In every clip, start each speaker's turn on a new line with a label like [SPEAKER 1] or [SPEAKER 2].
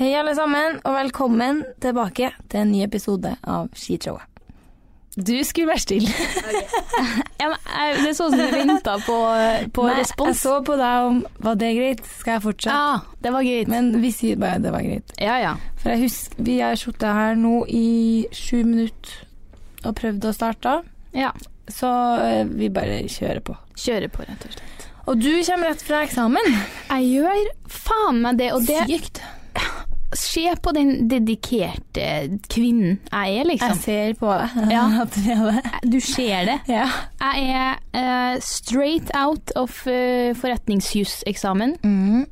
[SPEAKER 1] Hei, alle sammen, og velkommen tilbake til en ny episode av Skishowet.
[SPEAKER 2] Du skulle være stille. ja, men, jeg- det så ut som du venta på, eh, på
[SPEAKER 1] Nei, Jeg
[SPEAKER 2] respons.
[SPEAKER 1] så på deg om Var det greit? Skal jeg fortsette?
[SPEAKER 2] Ja, det var greit.
[SPEAKER 1] Men vi sier bare det var greit.
[SPEAKER 2] Ja, ja.
[SPEAKER 1] For jeg husker Vi har sittet her nå i sju minutter og prøvd å starte,
[SPEAKER 2] ja.
[SPEAKER 1] så eh, vi bare kjører på.
[SPEAKER 2] Kjøre på, rett og slett.
[SPEAKER 1] Og du kommer rett fra eksamen.
[SPEAKER 2] Jeg gjør faen meg det, og det
[SPEAKER 1] Sykt.
[SPEAKER 2] Se på den dedikerte kvinnen jeg er,
[SPEAKER 1] Jeg
[SPEAKER 2] liksom.
[SPEAKER 1] ser på deg
[SPEAKER 2] Ja.
[SPEAKER 1] at vi er det.
[SPEAKER 2] Du ser det.
[SPEAKER 1] Ja.
[SPEAKER 2] Jeg er eh, straight out of uh, forretningsjuseksamen.
[SPEAKER 1] Mm.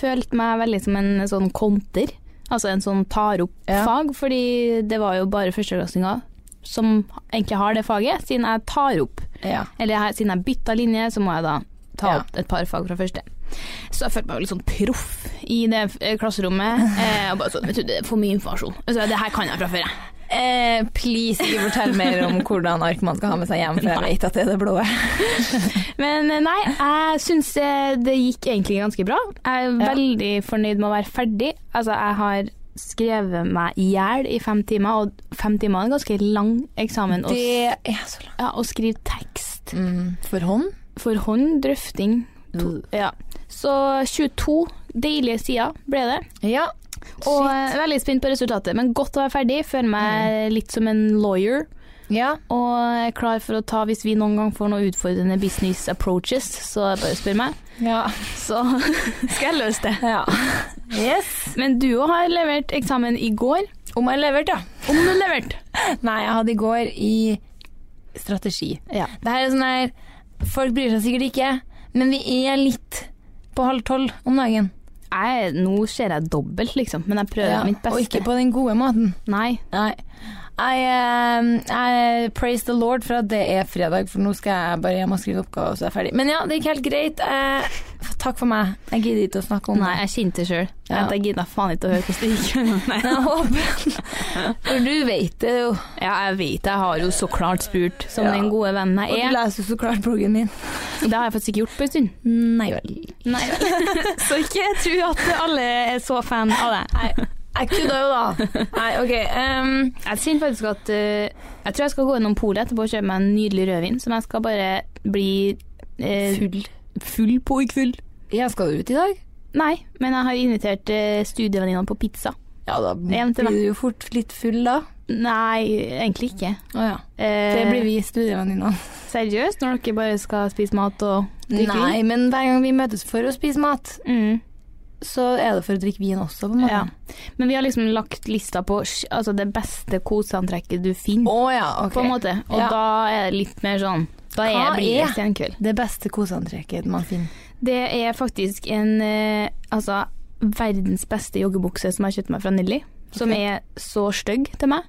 [SPEAKER 2] Følte meg veldig som en sånn konter, altså en sånn tar opp
[SPEAKER 1] Ja.
[SPEAKER 2] fag, fordi det var jo bare førsteklassinger som egentlig har det faget, siden jeg tar opp.
[SPEAKER 1] ja.
[SPEAKER 2] Eller jeg, siden jeg bytta linje, så må jeg da ta
[SPEAKER 1] Ja.
[SPEAKER 2] opp et par fag fra første. Så jeg følte meg litt sånn proff i det eh, klasserommet. Eh, og bare sånn, vet du, det er for mye informasjon. Altså, det her kan jeg fra før, jeg.
[SPEAKER 1] Eh, please, ikke fortell mer om hvordan ark man skal ha med seg hjem, for jeg vet at det er det blå.
[SPEAKER 2] Men eh, nei, jeg syns eh, det gikk egentlig ganske bra. Jeg er
[SPEAKER 1] Ja.
[SPEAKER 2] veldig fornøyd med å være ferdig. Altså, jeg har skrevet meg i hjel i fem timer, og fem timer er en ganske lang eksamen. Å s-
[SPEAKER 1] Det er så langt.
[SPEAKER 2] ja, å skrive tekst
[SPEAKER 1] For hånd?
[SPEAKER 2] for hånd, drøfting.
[SPEAKER 1] Mm.
[SPEAKER 2] To, ja. Så 22 deilige sider ble det.
[SPEAKER 1] Ja.
[SPEAKER 2] Og eh, veldig spent på resultatet, men godt å være ferdig. Føler meg litt som en lawyer.
[SPEAKER 1] ja.
[SPEAKER 2] Og er klar for å ta, hvis vi noen gang får noen utfordrende business approaches, så bare spør meg.
[SPEAKER 1] ja.
[SPEAKER 2] Så skal jeg løse det.
[SPEAKER 1] Yes.
[SPEAKER 2] Men du òg har levert eksamen i går.
[SPEAKER 1] Om jeg leverte, ja.
[SPEAKER 2] Om du leverte.
[SPEAKER 1] Nei, jeg hadde i går i strategi.
[SPEAKER 2] Ja.
[SPEAKER 1] Det her er sånn her Folk bryr seg sikkert ikke, men vi er litt på halv tolv om dagen.
[SPEAKER 2] Jeg, nå ser jeg dobbelt, liksom, men jeg prøver
[SPEAKER 1] Ja,
[SPEAKER 2] mitt beste.
[SPEAKER 1] Og ikke på den gode måten.
[SPEAKER 2] Nei.
[SPEAKER 1] Nei. Jeg, eh, jeg praise the lord for at det er fredag, for nå skal jeg bare hjem og skrive oppgaver, så er jeg ferdig. Men ja, det gikk helt greit. Eh, takk for meg. Jeg gidder ikke å snakke om
[SPEAKER 2] Nei, jeg kjente det sjøl.
[SPEAKER 1] Ja.
[SPEAKER 2] Jeg gidda faen ikke å høre hvordan det gikk. Nei.
[SPEAKER 1] det. Jeg håper For du vet det jo.
[SPEAKER 2] Ja, jeg vet jeg har jo så klart spurt, som
[SPEAKER 1] Ja.
[SPEAKER 2] den gode vennen
[SPEAKER 1] Og
[SPEAKER 2] jeg
[SPEAKER 1] du
[SPEAKER 2] er.
[SPEAKER 1] leser jo så klart bloggen min.
[SPEAKER 2] Det har jeg faktisk ikke gjort på en stund.
[SPEAKER 1] Nei vel.
[SPEAKER 2] Nei. så ikke tro at alle er så fan av det.
[SPEAKER 1] Nei, jeg kødda jo, da. Nei, OK. ehm,
[SPEAKER 2] Jeg kjenner faktisk at eh, Jeg tror jeg skal gå gjennom polet etterpå og kjøpe meg en nydelig rødvin, som jeg skal bare bli eh,
[SPEAKER 1] Full.
[SPEAKER 2] Full på, ikke full.
[SPEAKER 1] jeg skal ut i dag.
[SPEAKER 2] Nei, men jeg har invitert eh, studievenninnene på pizza.
[SPEAKER 1] Ja, da
[SPEAKER 2] Hjem
[SPEAKER 1] blir
[SPEAKER 2] til meg.
[SPEAKER 1] du jo fort litt full, da.
[SPEAKER 2] Nei, egentlig ikke.
[SPEAKER 1] Å ja.
[SPEAKER 2] Eh,
[SPEAKER 1] Det blir vi studievenninnene.
[SPEAKER 2] Seriøst, når dere bare skal spise mat og drikke
[SPEAKER 1] Nei, men hver gang vi møtes for å spise mat,
[SPEAKER 2] vin?
[SPEAKER 1] så er det for å drikke vin også, på en
[SPEAKER 2] Mm,
[SPEAKER 1] måte.
[SPEAKER 2] ja. Men vi har liksom lagt lista på sj- altså, det beste koseantrekket du finner,
[SPEAKER 1] Å ja, ok.
[SPEAKER 2] på en måte. Og
[SPEAKER 1] Ja.
[SPEAKER 2] da er det litt mer sånn Da er
[SPEAKER 1] Hva
[SPEAKER 2] jeg blir det
[SPEAKER 1] er-
[SPEAKER 2] senkveld.
[SPEAKER 1] Det beste koseantrekket man finner.
[SPEAKER 2] Det er faktisk en eh, altså verdens beste joggebukse som jeg har kjøpt meg fra Nelly. Som
[SPEAKER 1] Ok.
[SPEAKER 2] er så stygg til meg.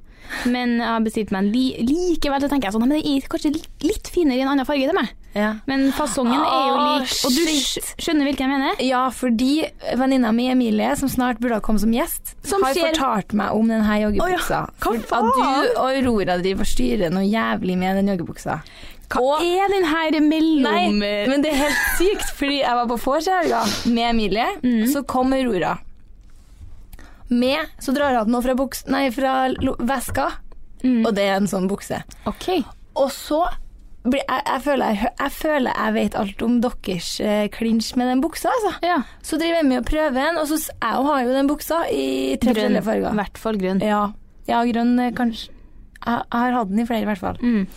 [SPEAKER 2] Men jeg har bestilt meg en li likevel. Så tenker jeg sånn, «Nei, men det er kanskje litt, litt finere i en annen farge til meg.
[SPEAKER 1] Ja.
[SPEAKER 2] Men fasongen er jo
[SPEAKER 1] Ah,
[SPEAKER 2] lik. Og du
[SPEAKER 1] shit.
[SPEAKER 2] skj- skjønner hvilken jeg mener?
[SPEAKER 1] fordi venninna mi Emilie, som snart burde ha kommet som gjest,
[SPEAKER 2] Som
[SPEAKER 1] har
[SPEAKER 2] ser-
[SPEAKER 1] fortalt meg om denne joggebuksa.
[SPEAKER 2] hva
[SPEAKER 1] For
[SPEAKER 2] faen?
[SPEAKER 1] At du og Aurora driver og styrer noe jævlig med den joggebuksa. Og-
[SPEAKER 2] er den her mellom
[SPEAKER 1] Nei, men det er helt sykt, fordi jeg var på vors i helga med Emilie,
[SPEAKER 2] Mm.
[SPEAKER 1] så kom Aurora. Med, så drar hun noe fra, buks, nei, fra lo- veska,
[SPEAKER 2] Mm.
[SPEAKER 1] og det er en sånn bukse.
[SPEAKER 2] OK.
[SPEAKER 1] Og så blir jeg, jeg, føler, jeg, hø- jeg føler jeg vet alt om deres eh, klinsj med den buksa, altså.
[SPEAKER 2] Ja.
[SPEAKER 1] Så driver jeg med å prøve den, og så s- jeg har jo den buksa i tre
[SPEAKER 2] Grønn.
[SPEAKER 1] forskjellige
[SPEAKER 2] I
[SPEAKER 1] farger.
[SPEAKER 2] hvert fall grønn.
[SPEAKER 1] Ja. ja, grønn eh, kanskje. Jeg, jeg har hatt den i flere i hvert fall.
[SPEAKER 2] Mm.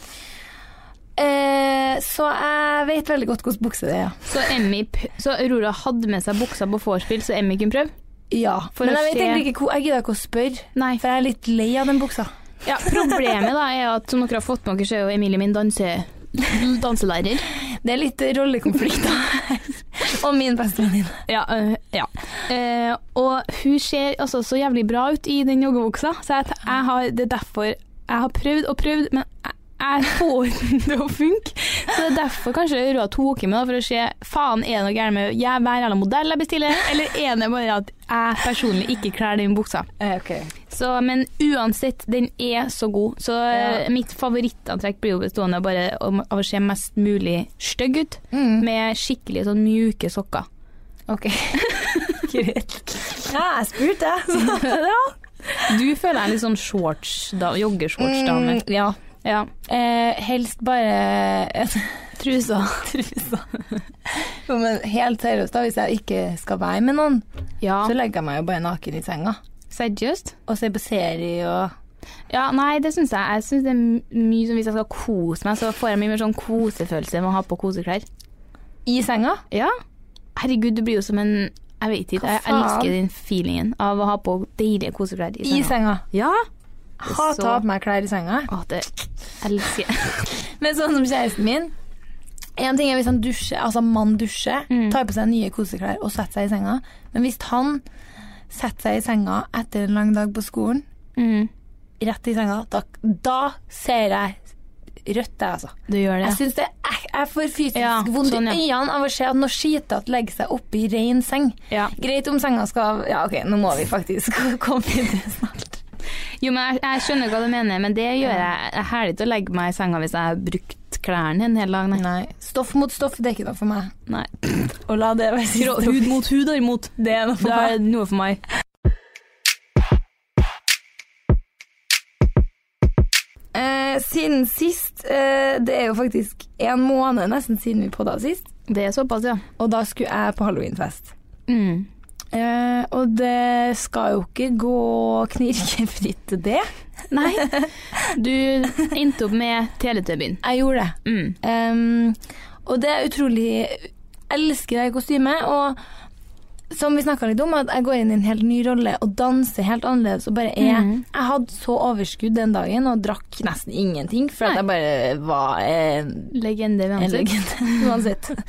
[SPEAKER 1] Eh, så jeg vet veldig godt hvordan bukse det er. ja.
[SPEAKER 2] Så, Emmy, p- så Aurora hadde med seg buksa på vorspiel, så Emmy kunne prøve?
[SPEAKER 1] Ja,
[SPEAKER 2] For
[SPEAKER 1] men
[SPEAKER 2] å
[SPEAKER 1] jeg vet
[SPEAKER 2] se-
[SPEAKER 1] egentlig ikke hvor Jeg gidder ikke å spørre,
[SPEAKER 2] Nei.
[SPEAKER 1] for jeg er litt lei av den buksa.
[SPEAKER 2] Ja, problemet da er at som dere har fått med dere, så er jo Emilie min danse, danselærer.
[SPEAKER 1] Det er litt rollekonflikter her. Og min bestevenninne.
[SPEAKER 2] Ja, øh, ja. Eh, og hun ser altså så jævlig bra ut i den joggebuksa, så jeg, jeg har, det er derfor jeg har prøvd og prøvd, men jeg, jeg får ikke det å funke. Så det er derfor kanskje Aurora tok i meg da, for å se faen er det noe gærent med jeg, hver jævla modell jeg bestiller, eller er det bare at jeg personlig ikke kler den buksa. Så, men uansett, den er så god. Så
[SPEAKER 1] Ja.
[SPEAKER 2] eh, mitt favorittantrekk blir jo bestående av bare om- av å se mest mulig stygg ut,
[SPEAKER 1] Mm.
[SPEAKER 2] med skikkelig sånn mjuke sokker.
[SPEAKER 1] Ok. Greit. Ja, jeg spurte.
[SPEAKER 2] Du føler deg litt sånn shorts, da, joggershortsdame.
[SPEAKER 1] Mm, ja.
[SPEAKER 2] Ja.
[SPEAKER 1] Eh, helst bare
[SPEAKER 2] Trusa.
[SPEAKER 1] Jo, men helt seriøst, da, hvis jeg ikke skal være med noen,
[SPEAKER 2] Ja.
[SPEAKER 1] så legger jeg meg jo bare naken i senga.
[SPEAKER 2] Seriøst?
[SPEAKER 1] Og ser på serie og
[SPEAKER 2] Ja, nei, det syns jeg. Jeg syns det er m- mye som hvis jeg skal kose meg, så får jeg mye mer sånn kosefølelse med å ha på koseklær.
[SPEAKER 1] I senga?
[SPEAKER 2] Ja. Herregud, du blir jo som en Jeg vet ikke,
[SPEAKER 1] Hva
[SPEAKER 2] jeg
[SPEAKER 1] faen?
[SPEAKER 2] elsker den feelingen av å ha på deilige koseklær i
[SPEAKER 1] I
[SPEAKER 2] senga.
[SPEAKER 1] senga.
[SPEAKER 2] Ja.
[SPEAKER 1] Hater å ha på meg klær i senga.
[SPEAKER 2] Å, det elsker jeg.
[SPEAKER 1] Men sånn som kjæresten min En ting er hvis han dusjer, altså mann dusjer,
[SPEAKER 2] Mm.
[SPEAKER 1] tar på seg nye koseklær og setter seg i senga. Men hvis han setter seg i senga etter en lang dag på skolen,
[SPEAKER 2] Mm.
[SPEAKER 1] rett i senga, da, da ser jeg rødt, jeg, altså.
[SPEAKER 2] Du gjør det.
[SPEAKER 1] Jeg syns det er, jeg får fysisk
[SPEAKER 2] Ja,
[SPEAKER 1] vondt
[SPEAKER 2] sånn, ja.
[SPEAKER 1] i øynene av å se at noe skitete legger seg oppi ren seng.
[SPEAKER 2] Ja.
[SPEAKER 1] Greit om senga skal Ja, OK, nå må vi faktisk komme videre snart.
[SPEAKER 2] Jo, men jeg, jeg skjønner hva du mener, men det gjør jeg. Jeg hæler ikke å legge meg i senga hvis jeg har brukt klærne en hel dag. Nei.
[SPEAKER 1] Nei. Stoff mot stoff, det er ikke noe for meg.
[SPEAKER 2] nei.
[SPEAKER 1] Og la det være siste ord.
[SPEAKER 2] mot hud, derimot.
[SPEAKER 1] Det er noe for
[SPEAKER 2] Det
[SPEAKER 1] meg.
[SPEAKER 2] er noe for meg.
[SPEAKER 1] Eh, siden sist eh, Det er jo faktisk en måned nesten siden vi podda sist.
[SPEAKER 2] Det er såpass, ja.
[SPEAKER 1] Og da skulle jeg på halloweenfest.
[SPEAKER 2] Mm.
[SPEAKER 1] Eh, og det skal jo ikke gå knirkefritt, det.
[SPEAKER 2] Nei. Du endte opp med Teletubbyen.
[SPEAKER 1] Jeg gjorde det.
[SPEAKER 2] Mm.
[SPEAKER 1] Ehm, og det er utrolig Elsker det kostymet. Og som vi snakka litt om, at jeg går inn i en helt ny rolle og danser helt annerledes. Og bare er
[SPEAKER 2] Mhm.
[SPEAKER 1] Jeg hadde så overskudd den dagen og drakk nesten ingenting, for at jeg bare var eh,
[SPEAKER 2] Legende ved
[SPEAKER 1] en
[SPEAKER 2] ansikt.
[SPEAKER 1] legende uansett.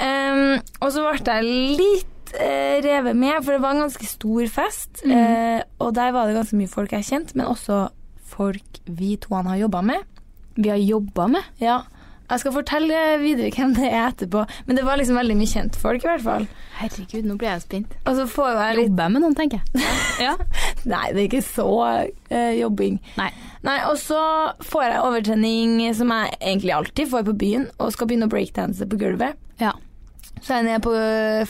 [SPEAKER 1] Ehm, og så ble jeg litt eh, revet med, for det var en ganske stor fest.
[SPEAKER 2] Mhm.
[SPEAKER 1] eh, og der var det ganske mye folk jeg kjente, men også folk vi to har jobba med.
[SPEAKER 2] Vi har jobba med.
[SPEAKER 1] Ja, jeg skal fortelle videre hvem det er etterpå. Men det var liksom veldig mye kjentfolk, i hvert fall.
[SPEAKER 2] Herregud, nå blir jeg spent.
[SPEAKER 1] Og så får jo jeg litt
[SPEAKER 2] Jobber jeg med noen, tenker jeg. Ja.
[SPEAKER 1] Nei, det er ikke så eh, jobbing.
[SPEAKER 2] Nei.
[SPEAKER 1] Nei, Og så får jeg overtenning, som jeg egentlig alltid får på byen, og skal begynne å breakdanse på gulvet.
[SPEAKER 2] Ja.
[SPEAKER 1] Så er jeg nede på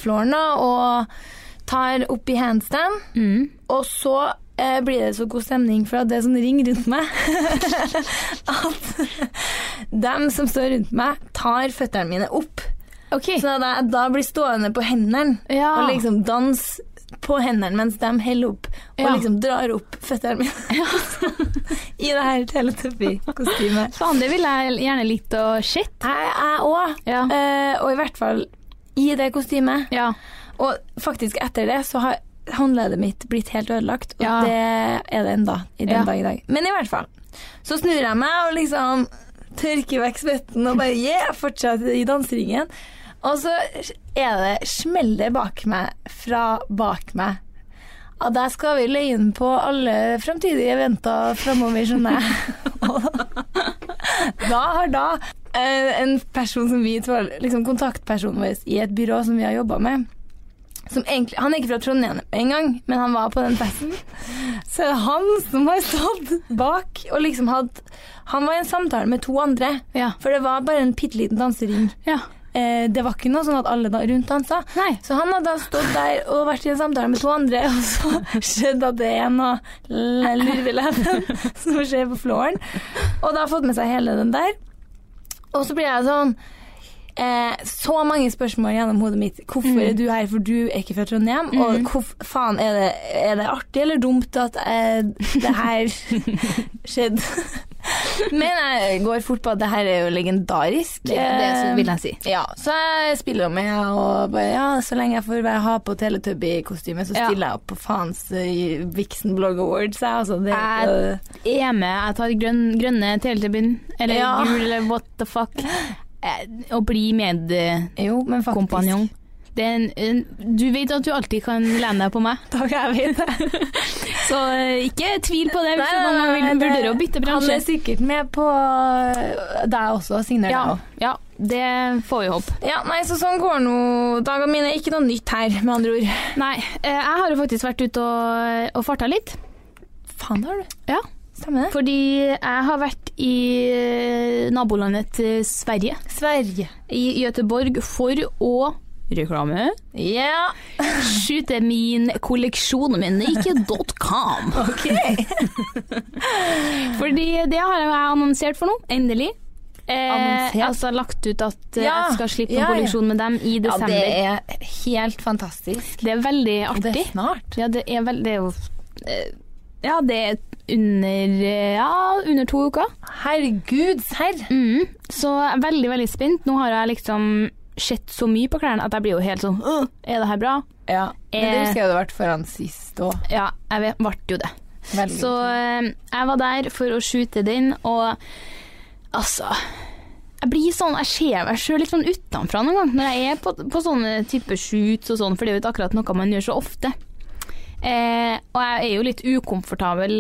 [SPEAKER 1] flooren da, og tar opp i handstand,
[SPEAKER 2] Mm.
[SPEAKER 1] og så eh, blir det så god stemning for at det er sånn ring rundt meg at dem som står rundt meg, tar føttene mine opp.
[SPEAKER 2] OK.
[SPEAKER 1] Sånn at jeg da blir stående på hendene
[SPEAKER 2] ja.
[SPEAKER 1] og liksom danse på hendene mens de heller opp og
[SPEAKER 2] Ja.
[SPEAKER 1] liksom drar opp føttene mine i det her Teletubby-kostymet.
[SPEAKER 2] Faen, det ville jeg gjerne likt å sett.
[SPEAKER 1] Jeg jeg òg,
[SPEAKER 2] Ja.
[SPEAKER 1] eh, og i hvert fall i det kostymet.
[SPEAKER 2] Ja.
[SPEAKER 1] Og faktisk etter det så har håndleddet mitt blitt helt ødelagt, og
[SPEAKER 2] Ja.
[SPEAKER 1] det er det enda i den
[SPEAKER 2] Ja.
[SPEAKER 1] dag i dag. Men i hvert fall. Så snur jeg meg og liksom tørker vekk svetten og bare yeah, fortsetter i danseringen. Og så er det smeller bak meg fra bak meg. Ja, der skal vi løye inn på alle framtidige eventer framover, skjønner jeg. Og da har da eh, en person som vi to har liksom kontaktpersonen vår i et byrå som vi har jobba med som egentlig, Han er ikke fra Trondheim engang, men han var på den festen. Så er det han som har stått bak og liksom hatt Han var i en samtale med to andre,
[SPEAKER 2] Ja.
[SPEAKER 1] for det var bare en bitte liten dansering.
[SPEAKER 2] ja.
[SPEAKER 1] Eh, det var ikke noe sånn at alle da, rundt dansa.
[SPEAKER 2] Nei.
[SPEAKER 1] Så han hadde da stått der og vært i en samtale med to andre, og så skjedde at det er noe l- lurveleven som skjer på flåren. Og da har fått med seg hele den der. Og så blir jeg sånn eh, Så mange spørsmål gjennom hodet mitt. Hvorfor
[SPEAKER 2] Mm.
[SPEAKER 1] er du her, for du er ikke fra Trondheim?
[SPEAKER 2] Mm.
[SPEAKER 1] Og hvor faen er det, er det artig eller dumt at eh, det her skjedde? Men jeg går fort på at det her er jo legendarisk.
[SPEAKER 2] Det, det
[SPEAKER 1] Eh,
[SPEAKER 2] vil jeg si.
[SPEAKER 1] ja, så jeg spiller med, og bare, ja, så lenge jeg får være ha på Teletubby-kostyme, så
[SPEAKER 2] Ja.
[SPEAKER 1] stiller jeg opp på faens eh, Vixen Blog Awards. Jeg, altså, det, er
[SPEAKER 2] Jeg-
[SPEAKER 1] ikke-
[SPEAKER 2] er med, jeg tar grønn, grønne teletubben, eller
[SPEAKER 1] Ja.
[SPEAKER 2] gul, eller what the fuck, eh, og bli medkompanjong.
[SPEAKER 1] jo, men faktisk.
[SPEAKER 2] Det er en, en, du vet at du alltid kan lene deg på meg,
[SPEAKER 1] Takk, jeg vet det.
[SPEAKER 2] så eh, ikke tvil på det hvis
[SPEAKER 1] Nei,
[SPEAKER 2] du
[SPEAKER 1] nei, nei,
[SPEAKER 2] vil,
[SPEAKER 1] det-
[SPEAKER 2] vurderer å
[SPEAKER 1] Han
[SPEAKER 2] bytte bransje.
[SPEAKER 1] er sikkert med på eh, deg også, signer
[SPEAKER 2] Ja,
[SPEAKER 1] deg også.
[SPEAKER 2] ja, det får vi håpe.
[SPEAKER 1] Ja, nei, så sånn går nå dagene mine. Ikke noe nytt her, med andre ord.
[SPEAKER 2] Nei, eh, jeg har jo faktisk vært ute og, og farta litt,
[SPEAKER 1] Faen, det har du.
[SPEAKER 2] Ja.
[SPEAKER 1] Stemmer det.
[SPEAKER 2] fordi jeg har vært i eh, nabolandet til Sverige,
[SPEAKER 1] Sverige.
[SPEAKER 2] i Göteborg, for å reklame.
[SPEAKER 1] Ja,
[SPEAKER 2] Skyter min kolleksjon med nike.com.
[SPEAKER 1] ok.
[SPEAKER 2] Fordi det har jeg annonsert for nå, endelig. Eh,
[SPEAKER 1] Annonsert?
[SPEAKER 2] altså lagt ut at eh,
[SPEAKER 1] Ja,
[SPEAKER 2] jeg skal slippe en
[SPEAKER 1] ja, ja.
[SPEAKER 2] kolleksjon med dem i
[SPEAKER 1] Ja,
[SPEAKER 2] desember.
[SPEAKER 1] det
[SPEAKER 2] det,
[SPEAKER 1] er helt fantastisk.
[SPEAKER 2] er... veldig
[SPEAKER 1] Og det
[SPEAKER 2] artig.
[SPEAKER 1] er snart.
[SPEAKER 2] Ja, det er vel Det er jo eh, Ja, det er under eh, Ja, under to uker.
[SPEAKER 1] Herregud, serr.
[SPEAKER 2] Mm. Så jeg er veldig, veldig spent. Nå har jeg liksom sett så mye på klærne at jeg blir jo helt sånn «Åh, Er det her bra?
[SPEAKER 1] Ja, men det
[SPEAKER 2] Eh.
[SPEAKER 1] husker jeg du vært foran sist òg.
[SPEAKER 2] Ja, jeg vet, ble jo det. Så eh, jeg var der for å shoote den, og altså Jeg blir sånn, jeg ser meg sjøl litt sånn utenfra noen gang når jeg er på, på sånne type shoots og sånn, for det er jo ikke akkurat noe man gjør så ofte. Eh, og jeg er jo litt ukomfortabel,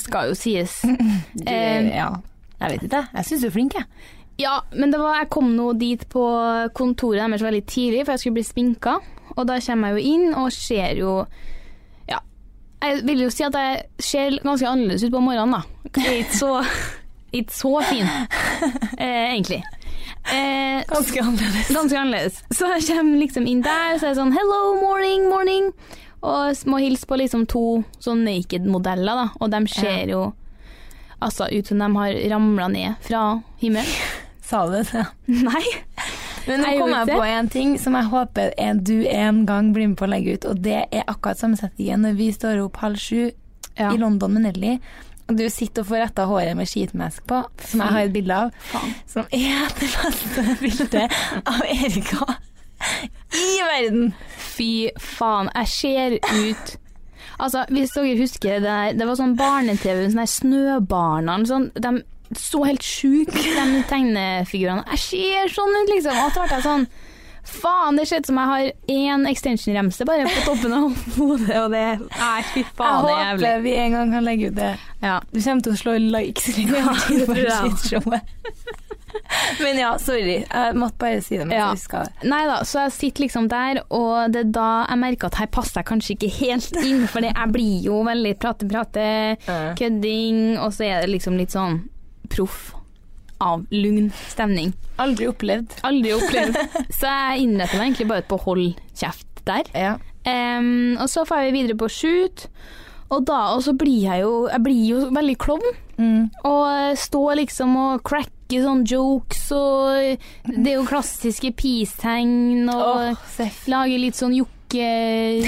[SPEAKER 2] skal jo sies. eh,
[SPEAKER 1] Ja. Jeg vet ikke, jeg syns du er flink, jeg.
[SPEAKER 2] Ja, men det var, jeg kom nå dit på kontoret deres veldig tidlig, for jeg skulle bli sminka. Og da kommer jeg jo inn og ser jo Ja, jeg vil jo si at jeg ser ganske annerledes ut på morgenen, da. Jeg er ikke så, ikke så fin, eh, egentlig. Eh,
[SPEAKER 1] Ganske annerledes.
[SPEAKER 2] Ganske annerledes. Så jeg kommer liksom inn der, så er jeg sånn hello, morning, morning. Og s- må hilse på liksom to sånn naked-modeller, da. Og de ser jo altså ut som de har ramla ned fra himmelen.
[SPEAKER 1] Sa du det?
[SPEAKER 2] Nei.
[SPEAKER 1] Men nå
[SPEAKER 2] Jeg
[SPEAKER 1] kom
[SPEAKER 2] gjorde
[SPEAKER 1] jeg
[SPEAKER 2] ikke
[SPEAKER 1] på en ting som jeg håper en, du en gang blir med på å legge ut, og det er akkurat sammensetningen når vi står opp halv sju
[SPEAKER 2] Ja.
[SPEAKER 1] i London med Nelly, og du sitter og får retta håret med skitmask på, som jeg har et bilde av,
[SPEAKER 2] Faen.
[SPEAKER 1] som er det beste bildet av Erika i verden.
[SPEAKER 2] Fy faen, jeg ser ut Altså, hvis dere husker det der, det var sånn barne-TV, sånn der Snøbarna eller sånn, de så helt sjuke ut, de tegnefigurene. Jeg ser sånn ut, liksom. Og så ble jeg sånn Faen, det ser ut som jeg har én extension-remse bare på toppen av hodet, og det Nei, fy faen, det
[SPEAKER 1] jeg
[SPEAKER 2] er
[SPEAKER 1] håper
[SPEAKER 2] jævlig.
[SPEAKER 1] vi en gang kan legge ut det.
[SPEAKER 2] Ja.
[SPEAKER 1] Du kommer til å slå likes i
[SPEAKER 2] Ja, det tror jeg også.
[SPEAKER 1] showet. Men ja, sorry. Jeg måtte bare si det mens
[SPEAKER 2] Ja.
[SPEAKER 1] jeg huska det.
[SPEAKER 2] Nei da, så jeg sitter liksom der, og det er da jeg merker at her passer jeg kanskje ikke helt inn, for det- jeg blir jo veldig prate-prate. kødding, og så er det liksom litt sånn proff av lugn stemning.
[SPEAKER 1] Aldri opplevd.
[SPEAKER 2] Aldri opplevd. så jeg innretter meg egentlig bare på hold kjeft der.
[SPEAKER 1] Ja.
[SPEAKER 2] Em, og så får jeg videre på shoot, og da og så blir jeg jo, jeg blir jo veldig klovn.
[SPEAKER 1] Mm.
[SPEAKER 2] Og står liksom og cracker sånne jokes, og det er jo klassiske peace-tegn, og
[SPEAKER 1] Åh, se f-
[SPEAKER 2] lager litt sånn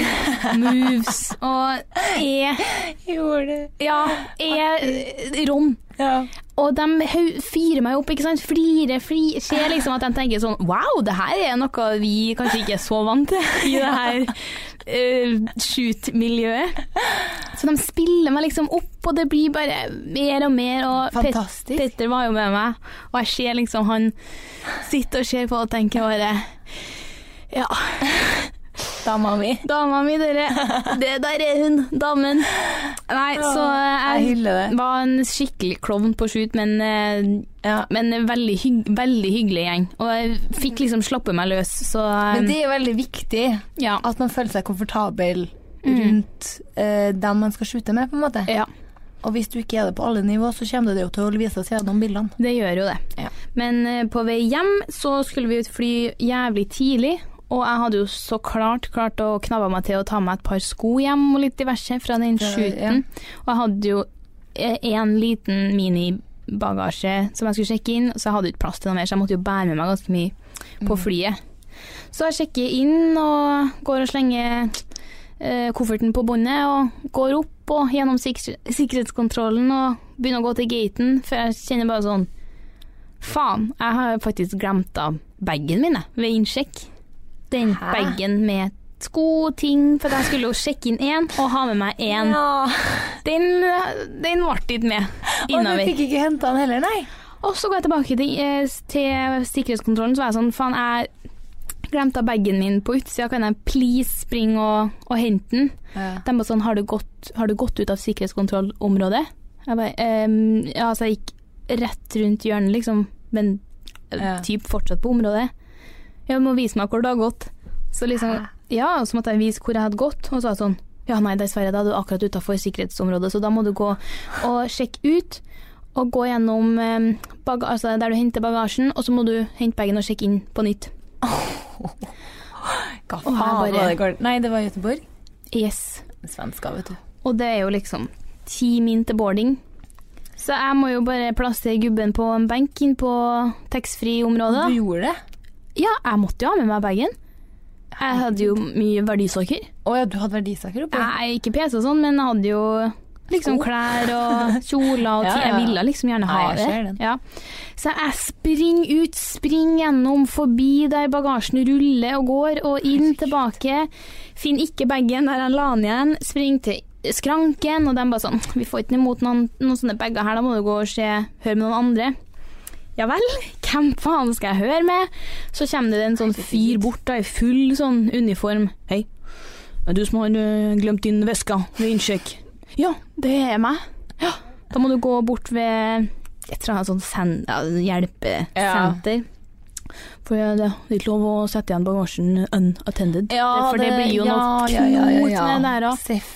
[SPEAKER 2] jokke-moves, og er,
[SPEAKER 1] Gjorde det.
[SPEAKER 2] ja, er rom.
[SPEAKER 1] Ja.
[SPEAKER 2] Og de hau- fyrer meg opp, ikke sant. Flirer, fli, ser liksom at de tenker sånn Wow, det her er noe vi kanskje ikke er så vant til i det her uh, shoot-miljøet. Så de spiller meg liksom opp, og det blir bare mer og mer. Og Pet-
[SPEAKER 1] Fantastisk.
[SPEAKER 2] Petter var jo med meg, og jeg ser liksom han sitter og ser på og tenker bare Ja,
[SPEAKER 1] Dama mi.
[SPEAKER 2] dama mi, dere. Det der er hun, damen. Nei, så eh,
[SPEAKER 1] Jeg
[SPEAKER 2] jeg
[SPEAKER 1] hyller det.
[SPEAKER 2] var en skikkelig klovn på shoot, men eh,
[SPEAKER 1] Ja.
[SPEAKER 2] men en veldig, hygg, veldig hyggelig gjeng. Og jeg fikk liksom slappe meg løs, så eh,
[SPEAKER 1] Men det er veldig viktig
[SPEAKER 2] ja.
[SPEAKER 1] at man føler seg komfortabel
[SPEAKER 2] Mm.
[SPEAKER 1] rundt eh, dem man skal skyte med, på en måte.
[SPEAKER 2] ja,
[SPEAKER 1] Og hvis du ikke er det på alle nivå, så kommer det jo til å vise oss gjennom bildene.
[SPEAKER 2] det gjør jo det.
[SPEAKER 1] Ja.
[SPEAKER 2] Men eh, på vei hjem så skulle vi ut fly jævlig tidlig, og jeg hadde jo så klart klart å knabbe meg til å ta meg et par sko hjem og litt diverse fra den
[SPEAKER 1] Ja,
[SPEAKER 2] shooten. Og jeg hadde jo én liten minibagasje som jeg skulle sjekke inn, så jeg hadde jo ikke plass til noe mer, så jeg måtte jo bære med meg ganske mye. på
[SPEAKER 1] Mm.
[SPEAKER 2] flyet. Så jeg sjekker inn og går og slenger eh, kofferten på båndet og går opp og gjennom sikre- sikkerhetskontrollen og begynner å gå til gaten, for jeg kjenner bare sånn Faen, jeg har faktisk glemt av bagen min jeg, ved innsjekk. Den
[SPEAKER 1] Hæ?
[SPEAKER 2] bagen med sko, ting, for jeg skulle jo sjekke inn én og ha med meg én.
[SPEAKER 1] Ja.
[SPEAKER 2] Den, den ble ikke med
[SPEAKER 1] Og du
[SPEAKER 2] innover.
[SPEAKER 1] fikk ikke henta den heller, nei.
[SPEAKER 2] Og så går jeg tilbake til, eh, til sikkerhetskontrollen, så var jeg sånn, faen, jeg glemte av bagen min på utsida, kan jeg please springe og, og hente den? De bare sånn, har du gått, har du gått ut av sikkerhetskontrollområdet? Jeg bare, ehm, ja, så jeg gikk rett rundt hjørnet, liksom, men
[SPEAKER 1] Ja.
[SPEAKER 2] eh, typ fortsatt på området. Jeg må vise meg hvor det har gått. Så liksom,
[SPEAKER 1] Hæ?
[SPEAKER 2] ja, og så måtte jeg vise hvor jeg hadde gått, og så var jeg sånn, ja, nei, dessverre, da er du akkurat utenfor sikkerhetsområdet, så da må du gå og sjekke ut, og gå gjennom eh, baga altså der du henter bagasjen, og så må du hente bagen og sjekke inn på nytt.
[SPEAKER 1] Hva
[SPEAKER 2] Og her
[SPEAKER 1] faen
[SPEAKER 2] bare-
[SPEAKER 1] var det går Nei, det var Göteborg.
[SPEAKER 2] Yes.
[SPEAKER 1] Svenska, vet du.
[SPEAKER 2] Og det er jo liksom ti min til boarding. Så jeg må jo bare plassere gubben på en benk inn på taxfree-området.
[SPEAKER 1] Du
[SPEAKER 2] da.
[SPEAKER 1] gjorde det?
[SPEAKER 2] Ja, jeg måtte jo ha med meg bagen. Jeg hadde jo mye verdisaker.
[SPEAKER 1] Å ja, du hadde verdisaker oppi?
[SPEAKER 2] Nei, ikke PC og sånn, men jeg hadde jo liksom
[SPEAKER 1] Sko.
[SPEAKER 2] klær og kjoler og
[SPEAKER 1] Ja,
[SPEAKER 2] ting.
[SPEAKER 1] ja.
[SPEAKER 2] Jeg ville liksom gjerne ha
[SPEAKER 1] Nei, jeg
[SPEAKER 2] det.
[SPEAKER 1] ser den.
[SPEAKER 2] Ja. Så jeg springer ut, springer gjennom, forbi der bagasjen ruller og går, og inn tilbake. Finner ikke bagen der jeg la den igjen. Springer til skranken, og de bare sånn Vi får ikke imot noen, noen sånne bager her, da må du gå og se, høre med noen andre. Ja vel, hvem faen skal jeg høre med? Så kommer det en sånn fyr bort da, i full sånn uniform. Hei, er du som har ø, glemt din veske ved innsjekk? Ja, det er meg. Ja, da må du gå bort ved et eller annet sånn sen ja, hjelpesenter. For ja, det er ikke lov å sette igjen bagasjen unattended. for det, blir jo noe knot med det der òg.
[SPEAKER 1] Seff.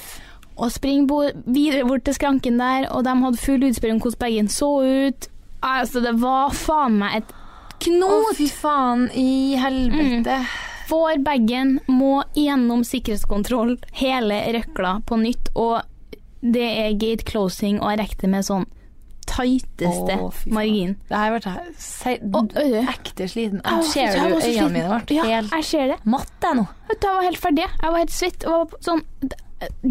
[SPEAKER 2] Og spring bo videre bort til skranken der, og de hadde full utspill om hvordan bagen så ut. Altså, det var faen meg et
[SPEAKER 1] Å,
[SPEAKER 2] knot! Mm.
[SPEAKER 1] fy faen i helvete.
[SPEAKER 2] Får bagen, må gjennom sikkerhetskontroll hele røkla på nytt, og det er gate closing, og jeg rekker det med sånn tighteste
[SPEAKER 1] Å, fy faen.
[SPEAKER 2] margin.
[SPEAKER 1] Det her ble jeg se-
[SPEAKER 2] Og øh,
[SPEAKER 1] ekte sliten.
[SPEAKER 2] Å,
[SPEAKER 1] Ser
[SPEAKER 2] jeg
[SPEAKER 1] du
[SPEAKER 2] var så
[SPEAKER 1] øynene
[SPEAKER 2] sliten.
[SPEAKER 1] mine ble
[SPEAKER 2] ja,
[SPEAKER 1] helt
[SPEAKER 2] jeg ser det.
[SPEAKER 1] matt jeg nå?
[SPEAKER 2] Vet du, jeg var helt ferdig. Jeg var helt svett. Og var på sånn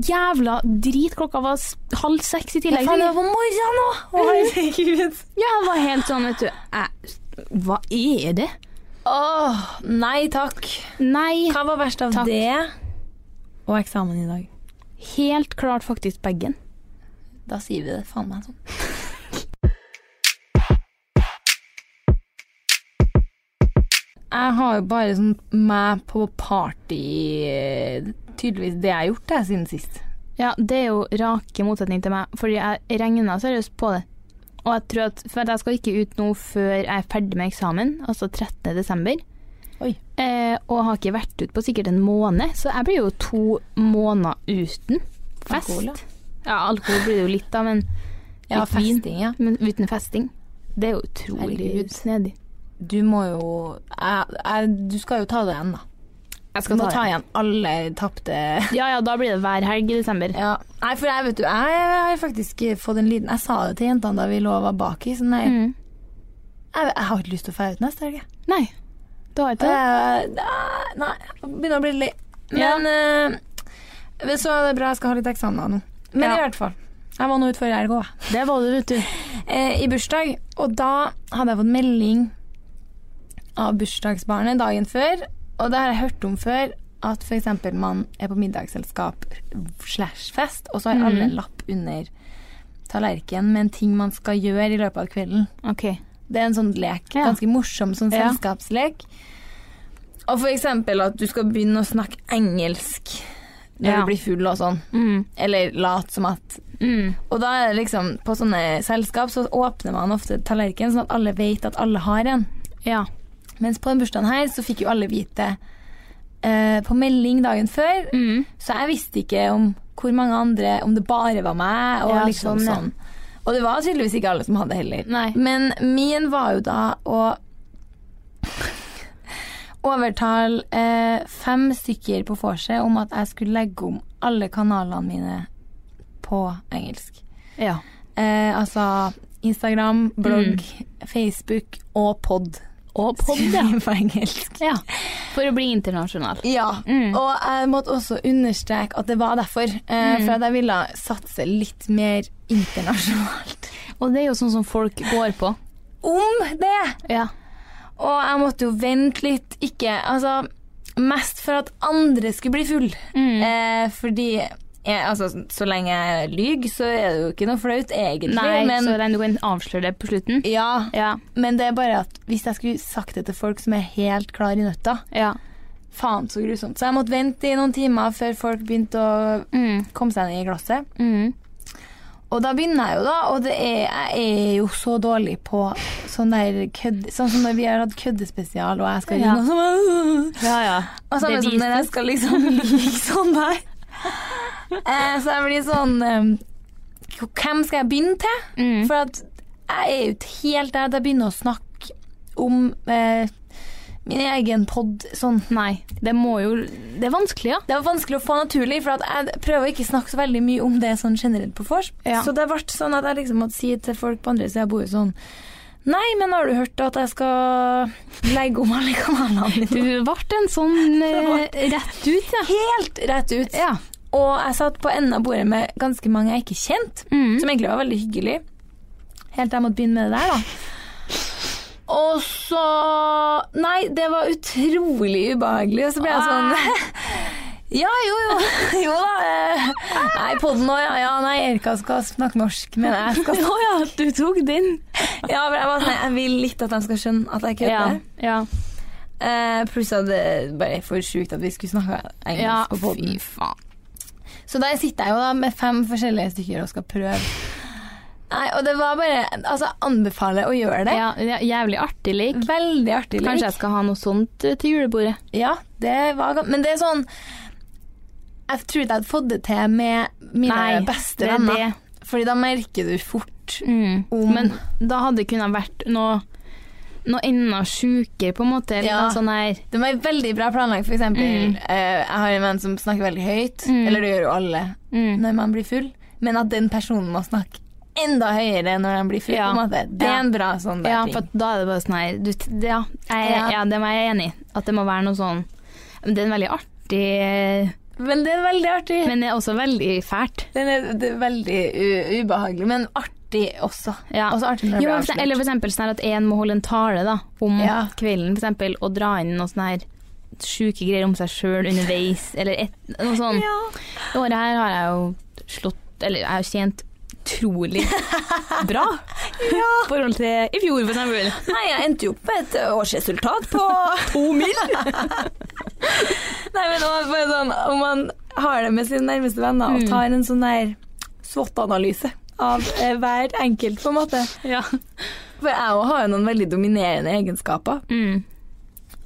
[SPEAKER 2] jævla drit. Klokka var s- halv seks i
[SPEAKER 1] Ja,
[SPEAKER 2] tillegg.
[SPEAKER 1] faen, det var på morgenen nå! Å, herregud.
[SPEAKER 2] Ja, jeg var helt sånn, vet du. Jeg, hva er det?
[SPEAKER 1] Åh, nei takk.
[SPEAKER 2] Nei,
[SPEAKER 1] Hva var verst av
[SPEAKER 2] Takk.
[SPEAKER 1] det og eksamen i dag?
[SPEAKER 2] helt klart faktisk bagen.
[SPEAKER 1] Da sier vi det faen meg sånn. Jeg har jo bare sånn meg på party Tydeligvis det jeg har gjort det siden sist.
[SPEAKER 2] Ja, det er jo rake motsetning til meg, fordi jeg regna seriøst på det. Og jeg tror at For jeg skal ikke ut nå før jeg er ferdig med eksamen, altså 13. desember.
[SPEAKER 1] Oi.
[SPEAKER 2] Eh, og har ikke vært ut på sikkert en måned, så jeg blir jo to måneder uten fest.
[SPEAKER 1] Alkohol, ja.
[SPEAKER 2] ja, alkohol blir det jo litt, da, men,
[SPEAKER 1] Ja,
[SPEAKER 2] Litt vin.
[SPEAKER 1] festing, ja.
[SPEAKER 2] men uten festing. Det er jo utrolig
[SPEAKER 1] Herregud.
[SPEAKER 2] snedig.
[SPEAKER 1] Du må jo jeg, jeg, Du skal jo ta det igjen, da.
[SPEAKER 2] Jeg
[SPEAKER 1] Du må ta igjen alle tapte
[SPEAKER 2] Ja ja, da blir det hver helg i desember.
[SPEAKER 1] ja. Nei, for jeg vet du, jeg har faktisk fått en liten Jeg sa det til jentene da vi lå og var baki. Sånn, jeg,
[SPEAKER 2] Mm.
[SPEAKER 1] jeg, jeg har ikke lyst til å feire ut neste helg. jeg.
[SPEAKER 2] Nei, du har ikke det?
[SPEAKER 1] Eh, Nei, jeg begynner å bli litt lei.
[SPEAKER 2] Ja.
[SPEAKER 1] Men eh, så er det bra jeg skal ha litt eksamener nå. Men
[SPEAKER 2] Ja.
[SPEAKER 1] i hvert fall. Jeg var nå ute før jeg går, jeg.
[SPEAKER 2] Det var du, vet du.
[SPEAKER 1] Eh, I bursdag. Og da hadde jeg fått melding av bursdagsbarnet dagen før. Og det har jeg hørt om før, at f.eks. man er på middagsselskap slash fest, og så har
[SPEAKER 2] Mhm.
[SPEAKER 1] alle en lapp under tallerkenen med en ting man skal gjøre i løpet av kvelden.
[SPEAKER 2] OK.
[SPEAKER 1] Det er en sånn lek.
[SPEAKER 2] Ja.
[SPEAKER 1] Ganske morsom sånn
[SPEAKER 2] Ja.
[SPEAKER 1] selskapslek. Og for eksempel at du skal begynne å snakke engelsk når
[SPEAKER 2] Ja.
[SPEAKER 1] du blir full og sånn.
[SPEAKER 2] Mm.
[SPEAKER 1] Eller late som at
[SPEAKER 2] Mm.
[SPEAKER 1] Og da er det liksom På sånne selskap så åpner man ofte tallerkenen sånn at alle vet at alle har en.
[SPEAKER 2] Ja.
[SPEAKER 1] Mens på den bursdagen her så fikk jo alle vite eh, på melding dagen før,
[SPEAKER 2] Mm.
[SPEAKER 1] så jeg visste ikke om hvor mange andre Om det bare var meg, og
[SPEAKER 2] Ja,
[SPEAKER 1] liksom
[SPEAKER 2] sånn, ja.
[SPEAKER 1] sånn. Og det var tydeligvis ikke alle som hadde heller.
[SPEAKER 2] Nei.
[SPEAKER 1] Men min var jo da å overtale eh, fem stykker på vorset om at jeg skulle legge om alle kanalene mine på engelsk.
[SPEAKER 2] Ja.
[SPEAKER 1] Eh, altså Instagram, blogg, Facebook og pod.
[SPEAKER 2] Mm. Og
[SPEAKER 1] Skulle på engelsk.
[SPEAKER 2] Ja. For å bli internasjonal.
[SPEAKER 1] Ja.
[SPEAKER 2] Mm.
[SPEAKER 1] Og jeg måtte også understreke at det var derfor. Eh, For at jeg ville satse litt mer internasjonalt.
[SPEAKER 2] Og det er jo sånn som folk går på.
[SPEAKER 1] Om det!
[SPEAKER 2] Ja.
[SPEAKER 1] Og jeg måtte jo vente litt, ikke Altså, mest for at andre skulle bli full.
[SPEAKER 2] Mm.
[SPEAKER 1] Eh, fordi jeg, altså, så lenge jeg lyver, så er det jo ikke noe flaut, egentlig.
[SPEAKER 2] Nei,
[SPEAKER 1] men,
[SPEAKER 2] så den du kan avsløre det på slutten.
[SPEAKER 1] ja,
[SPEAKER 2] Ja.
[SPEAKER 1] men det er bare at hvis jeg skulle sagt det til folk som er helt klar i nøtta
[SPEAKER 2] Ja.
[SPEAKER 1] Faen, så grusomt. Så jeg måtte vente i noen timer før folk begynte å
[SPEAKER 2] Mm.
[SPEAKER 1] komme seg ned i glasset.
[SPEAKER 2] Mm.
[SPEAKER 1] Og da begynner jeg jo, da. Og det er, jeg er jo så dårlig på sånn der kødd... Sånn som når vi har hatt køddespesial, og jeg skal
[SPEAKER 2] Ja.
[SPEAKER 1] gjøre noe sånn
[SPEAKER 2] Ja, ja.
[SPEAKER 1] Og samme
[SPEAKER 2] Det
[SPEAKER 1] som når
[SPEAKER 2] vises.
[SPEAKER 1] jeg skal liksom ligge sånn der. Eh, så jeg blir sånn eh, Hvem skal jeg begynne til?
[SPEAKER 2] Mm.
[SPEAKER 1] For at jeg er jo ikke helt der at jeg begynner å snakke om eh, min egen pod sånn.
[SPEAKER 2] Nei, det må jo Det er vanskelig, ja.
[SPEAKER 1] Det var vanskelig å få naturlig, for at jeg prøver å ikke snakke så veldig mye om det sånn generelt på vors.
[SPEAKER 2] Ja.
[SPEAKER 1] Så det ble sånn at jeg liksom måtte si til folk på andre sida av bordet sånn Nei, men har du hørt at jeg skal legge om alle kanalene
[SPEAKER 2] Du
[SPEAKER 1] mine?
[SPEAKER 2] ble en sånn eh,
[SPEAKER 1] Det
[SPEAKER 2] rett ut, ja.
[SPEAKER 1] Helt rett ut.
[SPEAKER 2] Ja.
[SPEAKER 1] Og jeg satt på enden av bordet med ganske mange jeg ikke kjente.
[SPEAKER 2] Mm.
[SPEAKER 1] Som egentlig var veldig hyggelig. Helt til jeg måtte begynne med det der, da. Og så Nei, det var utrolig ubehagelig. Og så ble jeg sånn Ja, jo, jo. Jo da. eh, Nei, podden òg, ja. ja. Nei, Erika skal snakke norsk, men jeg skal
[SPEAKER 2] Å ja, du tok den.
[SPEAKER 1] Ja, for jeg var sånn Jeg vil litt at de skal skjønne at jeg
[SPEAKER 2] Ja,
[SPEAKER 1] kødder.
[SPEAKER 2] ja.
[SPEAKER 1] Eh, pluss at det er bare for sjukt at vi skulle snakke engelsk
[SPEAKER 2] ja.
[SPEAKER 1] på podden.
[SPEAKER 2] faen.
[SPEAKER 1] Så der sitter jeg jo da med fem forskjellige stykker og skal prøve. Nei, og det var bare Altså, jeg anbefaler å gjøre det.
[SPEAKER 2] Ja, ja, jævlig artig lek.
[SPEAKER 1] Veldig artig lek.
[SPEAKER 2] Kanskje jeg skal ha noe sånt eh, til julebordet.
[SPEAKER 1] Ja, det var gam- Men det er sånn Jeg tror ikke jeg hadde fått det til med mine beste
[SPEAKER 2] det er
[SPEAKER 1] venner.
[SPEAKER 2] det.
[SPEAKER 1] Fordi da merker du fort
[SPEAKER 2] Mm.
[SPEAKER 1] Om-
[SPEAKER 2] Men da hadde det kunnet vært noe, noe enda sjukere, på en måte. Eller
[SPEAKER 1] Ja.
[SPEAKER 2] noe sånn her
[SPEAKER 1] Det var veldig bra planlagt, f.eks. eksempel
[SPEAKER 2] Mm.
[SPEAKER 1] eh, jeg har en venn som snakker veldig høyt.
[SPEAKER 2] Mm.
[SPEAKER 1] Eller det gjør jo alle
[SPEAKER 2] mm.
[SPEAKER 1] når man blir full. Men at den personen må snakke enda høyere når den blir full,
[SPEAKER 2] Ja.
[SPEAKER 1] på en måte. Det
[SPEAKER 2] Ja.
[SPEAKER 1] er en bra sånn der
[SPEAKER 2] Ja,
[SPEAKER 1] ting.
[SPEAKER 2] for at da er det bare sånn her du, t- det- ja, jeg, ja.
[SPEAKER 1] Ja.
[SPEAKER 2] det var jeg enig i. At det må være noe sånn Men Det er en veldig artig eh,
[SPEAKER 1] Men det er veldig artig.
[SPEAKER 2] Men det er også veldig fælt.
[SPEAKER 1] den er, det er veldig u ubehagelig, men artig også.
[SPEAKER 2] Ja.
[SPEAKER 1] Også artig når det
[SPEAKER 2] Jo,
[SPEAKER 1] blir
[SPEAKER 2] men for,
[SPEAKER 1] avslørt.
[SPEAKER 2] eller for eksempel sånn her at en må holde en tale da, om
[SPEAKER 1] Ja.
[SPEAKER 2] kvelden, for eksempel, og dra inn noe sånn her sjuke greier om seg sjøl underveis, eller et, noe sånt.
[SPEAKER 1] ja.
[SPEAKER 2] Det året her har jeg jo slått Eller jeg har tjent utrolig bra i forhold til i fjor, for eksempel.
[SPEAKER 1] Nei, jeg endte jo opp med et eh, årsresultat på
[SPEAKER 2] To mil!
[SPEAKER 1] Nei, men det var bare sånn, om man har det med sine nærmeste venner og
[SPEAKER 2] Mm.
[SPEAKER 1] tar en sånn der SWOT-analyse av eh, hver enkelt, på en måte.
[SPEAKER 2] Ja.
[SPEAKER 1] For jeg også har jo noen veldig dominerende egenskaper,
[SPEAKER 2] Mm.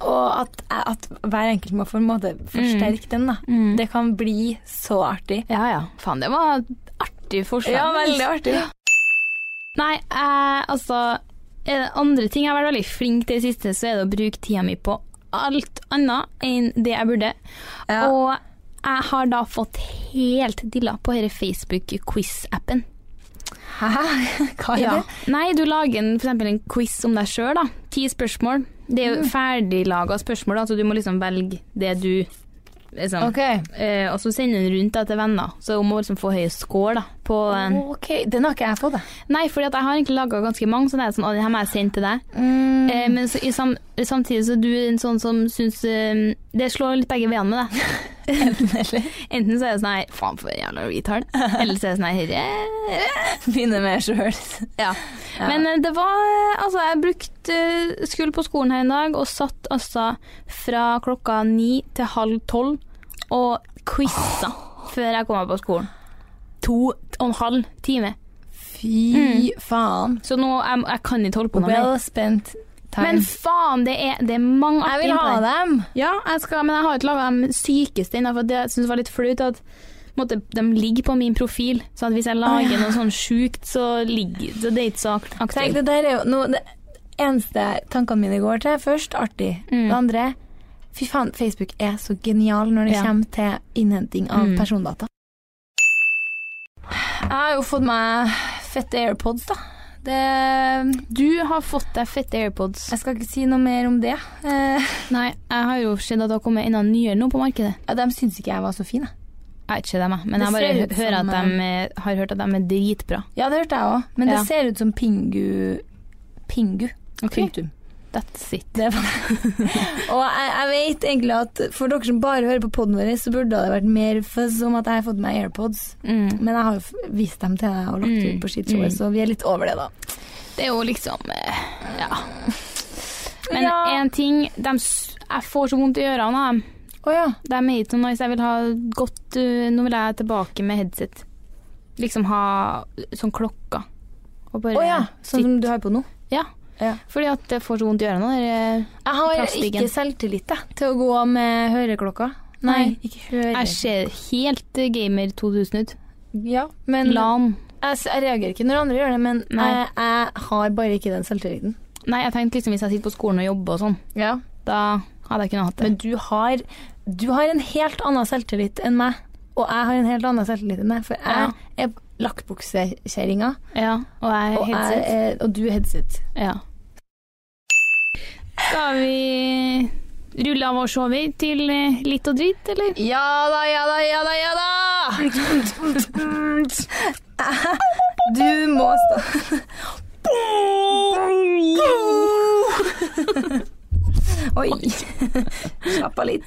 [SPEAKER 1] og at, at hver enkelt må på en måte forsterke den, da.
[SPEAKER 2] Mm.
[SPEAKER 1] Det kan bli så artig.
[SPEAKER 2] ja ja. Faen, det var artig forslag.
[SPEAKER 1] Ja, veldig artig.
[SPEAKER 2] Nei, eh, altså er det Andre ting jeg har vært veldig flink til i det siste, så er det å bruke tida mi på alt annet enn det jeg burde.
[SPEAKER 1] Ja.
[SPEAKER 2] Og jeg har da fått helt dilla på denne Facebook-quiz-appen.
[SPEAKER 1] Hæ? Hva er det?
[SPEAKER 2] Nei, du lager en, for eksempel en quiz om deg sjøl, da. Ti spørsmål. Det er jo ferdiglaga spørsmål, da, så du må liksom velge det du liksom.
[SPEAKER 1] Ok.
[SPEAKER 2] eh, Og så sender du den rundt da, til venner, så hun må liksom få høy score da, på eh,
[SPEAKER 1] Ok, den har ikke jeg fått, da.
[SPEAKER 2] Nei, fordi at jeg har egentlig laga ganske mange, så det er sånn, å, den her må jeg sende til deg.
[SPEAKER 1] Mm.
[SPEAKER 2] Eh, men så, i sam, samtidig så er du en sånn som syns eh, Det slår litt begge veiene med deg. Enten så er det sånn her Faen, for en jævla retard. Eller så er det sånn her «Eh, eh».
[SPEAKER 1] Begynner med sjøl.
[SPEAKER 2] Ja. Men eh, det var eh, Altså, jeg brukte eh, Skulle på skolen her en dag og satt altså fra klokka ni til halv tolv og quiza før jeg kom meg på skolen. To og en halv time.
[SPEAKER 1] Fy
[SPEAKER 2] mm.
[SPEAKER 1] faen.
[SPEAKER 2] Så nå jeg, jeg kan ikke holde på noe mer.
[SPEAKER 1] Well spent time.
[SPEAKER 2] Men faen, det er, det er mange
[SPEAKER 1] jeg vil ha
[SPEAKER 2] innpå der.
[SPEAKER 1] dem!
[SPEAKER 2] Ja, jeg skal, men jeg har ikke laga de sykeste ennå, for det jeg synes var litt flaut at på en måte, de ligger på min profil. Så at hvis jeg lager
[SPEAKER 1] Å, ja.
[SPEAKER 2] noe sånn sjukt, så ligger så det er ikke så akt-
[SPEAKER 1] Tenk,
[SPEAKER 2] aktuelt.
[SPEAKER 1] det der er jo noe Det eneste tankene mine går til Først, artig.
[SPEAKER 2] Mm.
[SPEAKER 1] Det andre Fy faen, Facebook er så genial når det
[SPEAKER 2] Ja.
[SPEAKER 1] kommer til innhenting av
[SPEAKER 2] Mm.
[SPEAKER 1] persondata. Jeg har jo fått meg fette AirPods, da. Det
[SPEAKER 2] Du har fått deg fette AirPods.
[SPEAKER 1] Jeg skal ikke si noe mer om det. Eh,
[SPEAKER 2] Nei, jeg har jo sett at det har kommet enda nyere nå på markedet.
[SPEAKER 1] ja, de syns ikke jeg var så fin, jeg.
[SPEAKER 2] Jeg vet ikke dem, jeg. Men
[SPEAKER 1] Det
[SPEAKER 2] jeg bare
[SPEAKER 1] ser
[SPEAKER 2] hø-
[SPEAKER 1] ut
[SPEAKER 2] hører
[SPEAKER 1] som,
[SPEAKER 2] at de eh, har hørt at de er dritbra.
[SPEAKER 1] Ja, det hørte jeg òg, men
[SPEAKER 2] Ja.
[SPEAKER 1] det ser ut som Pingu Pingu. Punktum.
[SPEAKER 2] That's it.
[SPEAKER 1] Det var Og jeg, jeg vet egentlig at for dere som bare hører på podden vår, så burde det vært mer fuzz om at jeg har fått meg AirPods.
[SPEAKER 2] Mm.
[SPEAKER 1] Men jeg har jo f- vist dem til deg og lagt
[SPEAKER 2] Mm,
[SPEAKER 1] ut på skitt showet,
[SPEAKER 2] mm.
[SPEAKER 1] så vi er litt over det, da.
[SPEAKER 2] Det er jo liksom eh, Ja. Men
[SPEAKER 1] Ja.
[SPEAKER 2] én ting de, s- Jeg får så vondt i ørene av dem.
[SPEAKER 1] Å ja.
[SPEAKER 2] Det er meget noe nice. Jeg vil ha godt eh, Nå vil jeg tilbake med headset. Liksom ha sånn klokka. Og bare
[SPEAKER 1] Å ja. Sånn som du har på nå.
[SPEAKER 2] Fordi at jeg får så vondt i ørene. der, eh,
[SPEAKER 1] Jeg har
[SPEAKER 2] Plastikken.
[SPEAKER 1] ikke selvtillit jeg, til å gå med høreklokka. Nei,
[SPEAKER 2] Nei.
[SPEAKER 1] ikke hører.
[SPEAKER 2] Jeg ser helt eh, gamer 2000 ut.
[SPEAKER 1] Ja, men jeg,
[SPEAKER 2] LAN.
[SPEAKER 1] s- jeg reagerer ikke når andre gjør det, men
[SPEAKER 2] Nei.
[SPEAKER 1] jeg, jeg har bare ikke den selvtilliten.
[SPEAKER 2] Nei, jeg tenkte liksom hvis jeg sitter på skolen og jobber og sånn,
[SPEAKER 1] Ja.
[SPEAKER 2] da hadde jeg kunnet hatt det.
[SPEAKER 1] Men du har, du har en helt annen selvtillit enn meg. Og jeg har en helt annen selvtillit enn deg, for jeg er lakkbuksekjerringa,
[SPEAKER 2] Ja, og jeg er
[SPEAKER 1] og,
[SPEAKER 2] helt
[SPEAKER 1] jeg
[SPEAKER 2] sikker.
[SPEAKER 1] er- og du er headset.
[SPEAKER 2] Ja. Skal vi rulle av oss over til eh, litt og dritt, eller?
[SPEAKER 1] Ja da, ja da, ja da, ja da! Du må stå Oi. Slapp av litt.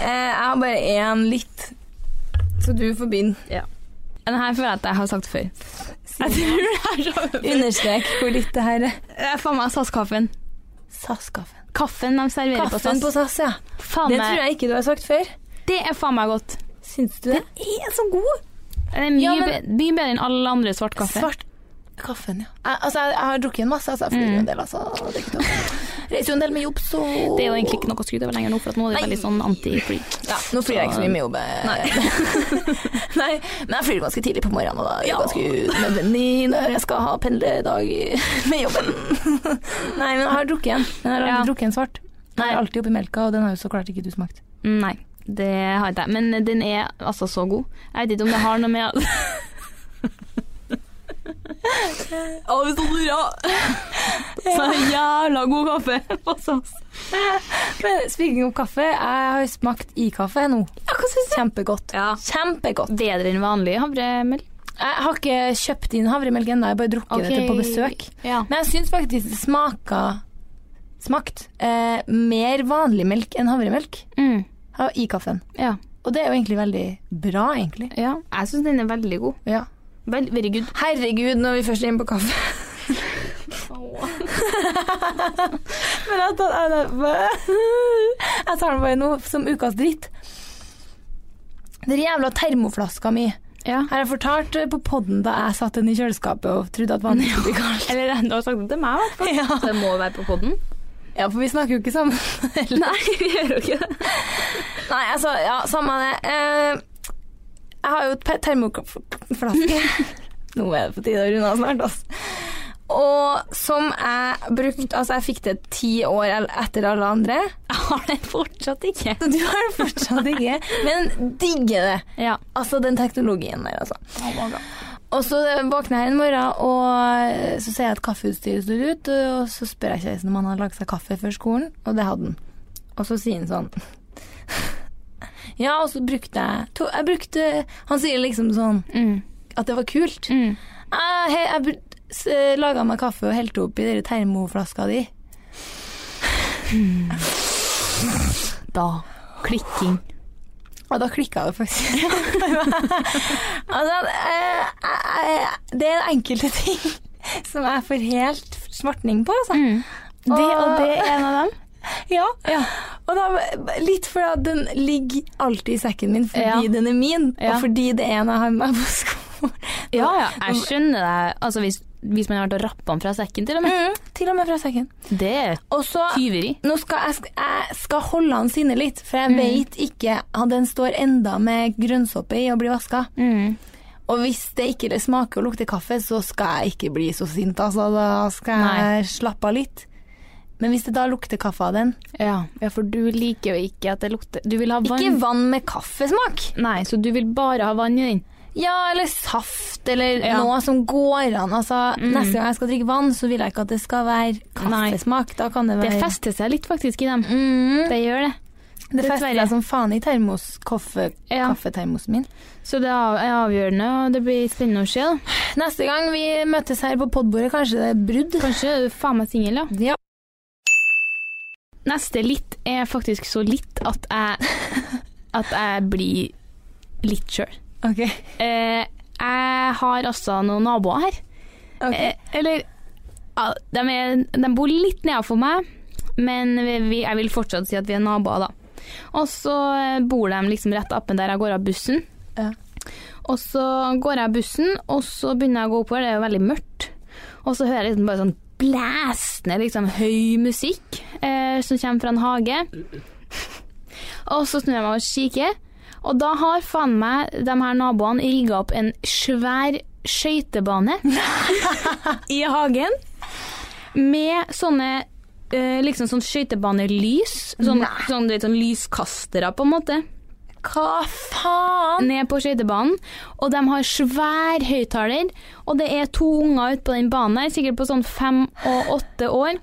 [SPEAKER 1] Eh, Jeg har bare én litt, så du får begynne.
[SPEAKER 2] Den her føler jeg at jeg har sagt før. Jeg tror det er så før.
[SPEAKER 1] Understrek hvor litt det her er.
[SPEAKER 2] Det er faen meg SAS-kaffen.
[SPEAKER 1] SAS-kaffen.
[SPEAKER 2] Kaffen de serverer
[SPEAKER 1] Kaffen
[SPEAKER 2] på
[SPEAKER 1] på
[SPEAKER 2] SAS.
[SPEAKER 1] SAS, ja.
[SPEAKER 2] Faen
[SPEAKER 1] Det
[SPEAKER 2] meg,
[SPEAKER 1] tror jeg ikke du har sagt før.
[SPEAKER 2] det er faen meg godt.
[SPEAKER 1] Syns du det? Den er så god!
[SPEAKER 2] Det er mye,
[SPEAKER 1] Ja, men-
[SPEAKER 2] be- mye bedre enn alle andre svart kaffe.
[SPEAKER 1] Svart kaffen, ja. Jeg, altså, jeg, jeg har drukket en masse, altså. Jeg flyr jo en del, altså. Det er ikke noe. Reiser jo en del med jobb, så
[SPEAKER 2] Det er jo egentlig ikke noe å skryte over lenger nå, for at nå er det
[SPEAKER 1] Nei.
[SPEAKER 2] veldig sånn anti-free.
[SPEAKER 1] Ja, nå flyr jeg ikke så mye med jobb. eh. Nei, men jeg flyr ganske tidlig på morgenen, og da er det
[SPEAKER 2] Ja.
[SPEAKER 1] ganske nødvendig når jeg skal ha pendlerdag med jobben. Nei, men jeg har drukket en. Men Jeg har aldri
[SPEAKER 2] Ja.
[SPEAKER 1] drukket en svart. Jeg er alltid oppi melka, og den har jo så klart ikke du smakt.
[SPEAKER 2] Mm, Nei, det har ikke jeg. Men den er altså så god. Jeg vet ikke om det har noe med Ja, vi står bra! Så jævla god kaffe på SAS.
[SPEAKER 1] Men speaking of kaffe, jeg har smakt i kaffe nå.
[SPEAKER 2] hva syns
[SPEAKER 1] Kjempegodt.
[SPEAKER 2] Ja.
[SPEAKER 1] Kjempegodt.
[SPEAKER 2] Bedre enn vanlig havremel.
[SPEAKER 1] Jeg har ikke kjøpt inn havremelk ennå, jeg har bare drukket det til på besøk.
[SPEAKER 2] Ja.
[SPEAKER 1] Men jeg syns faktisk det smaka smakt eh, mer vanlig melk enn havremelk
[SPEAKER 2] Mm.
[SPEAKER 1] ha- i kaffen.
[SPEAKER 2] ja.
[SPEAKER 1] Og det er jo egentlig veldig bra, egentlig.
[SPEAKER 2] ja. Jeg syns den er veldig god.
[SPEAKER 1] Ja.
[SPEAKER 2] Vel, very good.
[SPEAKER 1] Herregud, når vi først er inne på kaffe Men jeg tar, jeg, tar- jeg tar den bare nå som ukas dritt. Den jævla termoflaska mi.
[SPEAKER 2] Ja.
[SPEAKER 1] Har jeg fortalt eh, på podden da jeg satte den i kjøleskapet og trodde at vannet skulle bli kaldt?
[SPEAKER 2] Eller du har sagt det til meg, i hvert fall.
[SPEAKER 1] Ja.
[SPEAKER 2] Det må være på poden.
[SPEAKER 1] ja, for vi snakker jo ikke sammen.
[SPEAKER 2] Nei, vi gjør jo ikke det.
[SPEAKER 1] Nei, altså, ja, samme det. Eh, jeg har jo et pe- termoflaske. Nå er det på tide å runde av snart, altså. Og som jeg brukte Altså, jeg fikk det ti år el- etter alle andre.
[SPEAKER 2] Jeg har den fortsatt ikke.
[SPEAKER 1] Du har det fortsatt ikke, men digger det.
[SPEAKER 2] Ja.
[SPEAKER 1] Altså den teknologien der, altså. Og så våkner jeg en morgen, og så ser jeg at kaffeutstyret står ut, og så spør jeg kjæresten om han har lagd seg kaffe før skolen, og det hadde han. Og så sier han sånn Ja, og så brukte jeg to, Jeg brukte Han sier liksom sånn
[SPEAKER 2] Mm.
[SPEAKER 1] at det var kult. Jeg,
[SPEAKER 2] Mm.
[SPEAKER 1] he- jeg br- s- laga meg kaffe og helte oppi den termoflaska di.
[SPEAKER 2] Da. Klikking.
[SPEAKER 1] Og da klikka det faktisk. altså, eh, eh, det er enkelte ting som jeg får helt svartning på. Altså.
[SPEAKER 2] Mm. Det og
[SPEAKER 1] Åh.
[SPEAKER 2] det er en av dem.
[SPEAKER 1] Ja.
[SPEAKER 2] Ja.
[SPEAKER 1] Og da, litt fordi at den ligger alltid i sekken min fordi
[SPEAKER 2] Ja.
[SPEAKER 1] den er min,
[SPEAKER 2] Ja.
[SPEAKER 1] og fordi det er en jeg har med meg på skolen.
[SPEAKER 2] Ja, ja, jeg skjønner det. Altså, hvis, hvis man har vært og rappa den fra sekken, til og med.
[SPEAKER 1] Mm, til og med fra sekken.
[SPEAKER 2] Det er
[SPEAKER 1] Og så
[SPEAKER 2] tyveri.
[SPEAKER 1] nå skal jeg, sk- jeg skal holde han sinne litt, for
[SPEAKER 2] Mm.
[SPEAKER 1] jeg vet ikke at den står enda med grønnsåpe i og blir vaska.
[SPEAKER 2] Mm.
[SPEAKER 1] Og hvis det ikke smaker og lukter kaffe, så skal jeg ikke bli så sint, altså. Da skal jeg slappe av litt. Men hvis det da lukter kaffe av den
[SPEAKER 2] Ja. for du liker jo ikke at det lukter Du vil ha
[SPEAKER 1] Ikke vann med kaffesmak!
[SPEAKER 2] Nei, så du vil bare ha vann i den.
[SPEAKER 1] Ja, eller saft, eller
[SPEAKER 2] Ja. Mm.
[SPEAKER 1] noe som går an. Altså, Neste gang jeg skal drikke vann, så vil jeg ikke at det skal være
[SPEAKER 2] Nei.
[SPEAKER 1] kaffesmak. Da kan det
[SPEAKER 2] Det
[SPEAKER 1] være
[SPEAKER 2] fester seg litt faktisk i dem.
[SPEAKER 1] Mm.
[SPEAKER 2] Det gjør det.
[SPEAKER 1] Det fester
[SPEAKER 2] Dessverre.
[SPEAKER 1] seg som faen i termos, kaffe,
[SPEAKER 2] Ja.
[SPEAKER 1] kaffetermosen min.
[SPEAKER 2] Så det er av- er avgjørende, og det blir spennende å se. da.
[SPEAKER 1] Neste gang vi møtes her på podbordet, kanskje det er brudd.
[SPEAKER 2] Kanskje er du faen meg singel, ja.
[SPEAKER 1] Ja.
[SPEAKER 2] Neste litt er faktisk så litt at jeg At jeg blir litt sjøl.
[SPEAKER 1] Ok.
[SPEAKER 2] Eh, jeg har altså noen naboer her. Eh, eller ja, de, er, de bor litt nedenfor meg, men vi, vi, jeg vil fortsatt si at vi er naboer, da. Og så eh, bor de liksom rett oppe der jeg går av bussen.
[SPEAKER 1] Ja.
[SPEAKER 2] Og så går jeg av bussen, og så begynner jeg å gå oppover, det er jo veldig mørkt. Og så hører jeg liksom bare sånn blæsende liksom, høy musikk eh, som kommer fra en hage. Og så snur jeg meg og kikker, og da har faen meg de her naboene rigga opp en svær skøytebane i hagen med sånne eh, liksom sånn skøytebanelys. Sånn,
[SPEAKER 1] Nei.
[SPEAKER 2] sånn, du vet, sånn lyskastere, på en måte.
[SPEAKER 1] Hva faen?
[SPEAKER 2] Ned på skøytebanen. Og de har svær høyttaler. Og det er to unger ute på den banen her, sikkert på sånn fem og åtte år.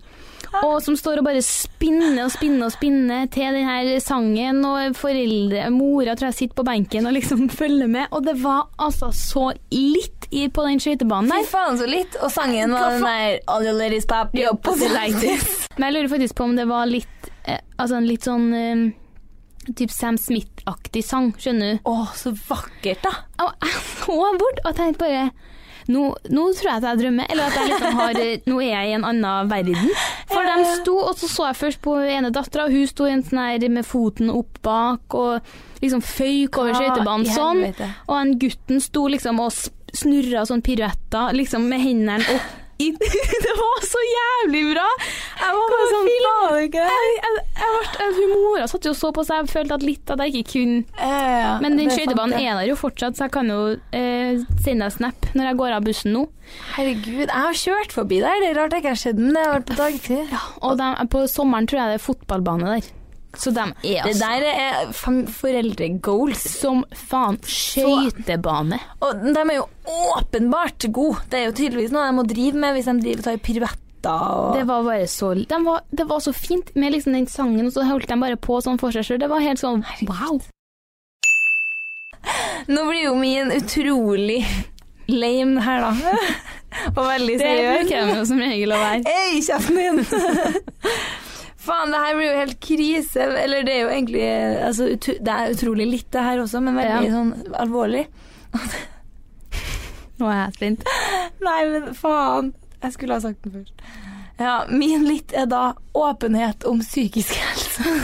[SPEAKER 2] Og som står og bare spinner og spinner og spinner til den her sangen, og foreldre, mora tror jeg sitter på benken og liksom følger med. Og det var altså så litt i, på den skøytebanen
[SPEAKER 1] Fy
[SPEAKER 2] der.
[SPEAKER 1] faen så litt. Og sangen
[SPEAKER 2] Hva
[SPEAKER 1] var den der All your ladies pop, your pussy like this.
[SPEAKER 2] Men jeg lurer faktisk på om det var litt eh, Altså en litt sånn eh, typ Sam Smith-aktig sang, skjønner du?
[SPEAKER 1] Å, så vakkert, da.
[SPEAKER 2] Og jeg så bort og tenkte bare nå, nå tror jeg at jeg drømmer, eller at jeg liksom har eh, Nå er jeg i en annen verden. For
[SPEAKER 1] Ja,
[SPEAKER 2] de
[SPEAKER 1] ja.
[SPEAKER 2] sto, og så så jeg først på ene dattera, og hun sto i en sånn her med foten opp bak og liksom føyk over skøytebanen
[SPEAKER 1] Ja, i
[SPEAKER 2] sånn.
[SPEAKER 1] helvete.
[SPEAKER 2] Og han gutten sto liksom og sp- snurra sånn piruetter, liksom med hendene opp i Det var så jævlig bra! Jeg var bare sånn
[SPEAKER 1] Var det ikke det?
[SPEAKER 2] jeg, jeg, jeg ble, jeg, hun Mora satt jo og så på, så jeg følte at litt at jeg ikke kunne
[SPEAKER 1] Ja, ja, ja.
[SPEAKER 2] Men den
[SPEAKER 1] Det
[SPEAKER 2] skøytebanen
[SPEAKER 1] fant jeg.
[SPEAKER 2] er der jo fortsatt, så jeg kan jo eh, sende deg snap når jeg går av bussen nå.
[SPEAKER 1] Herregud, jeg har kjørt forbi der. Det er rart jeg ikke har sett den. men Det har vært på dagtid.
[SPEAKER 2] Og dem- på sommeren tror jeg det er fotballbane der. Så de er
[SPEAKER 1] Det
[SPEAKER 2] altså
[SPEAKER 1] der er fam- foreldregoals.
[SPEAKER 2] som faen skøytebane.
[SPEAKER 1] Og de er jo åpenbart gode. Det er jo tydeligvis noe de må drive med hvis de driver og tar piruetter og
[SPEAKER 2] Det var bare så de var, Det var så fint med liksom den sangen, og så holdt de bare på sånn for seg sjøl. Det var helt sånn wow.
[SPEAKER 1] Nå blir jo min utrolig lame her, da. og veldig seriøs.
[SPEAKER 2] bruker de jo som regel å være.
[SPEAKER 1] Hei, kjeften din! Faen, det her blir jo helt krise. Eller det er jo egentlig altså, utu- Det er utrolig litt, det her også, men veldig
[SPEAKER 2] Ja.
[SPEAKER 1] sånn alvorlig.
[SPEAKER 2] Nå er jeg spent.
[SPEAKER 1] Nei, men faen. Jeg skulle ha sagt den først. Ja, min litt er da åpenhet om psykisk helse.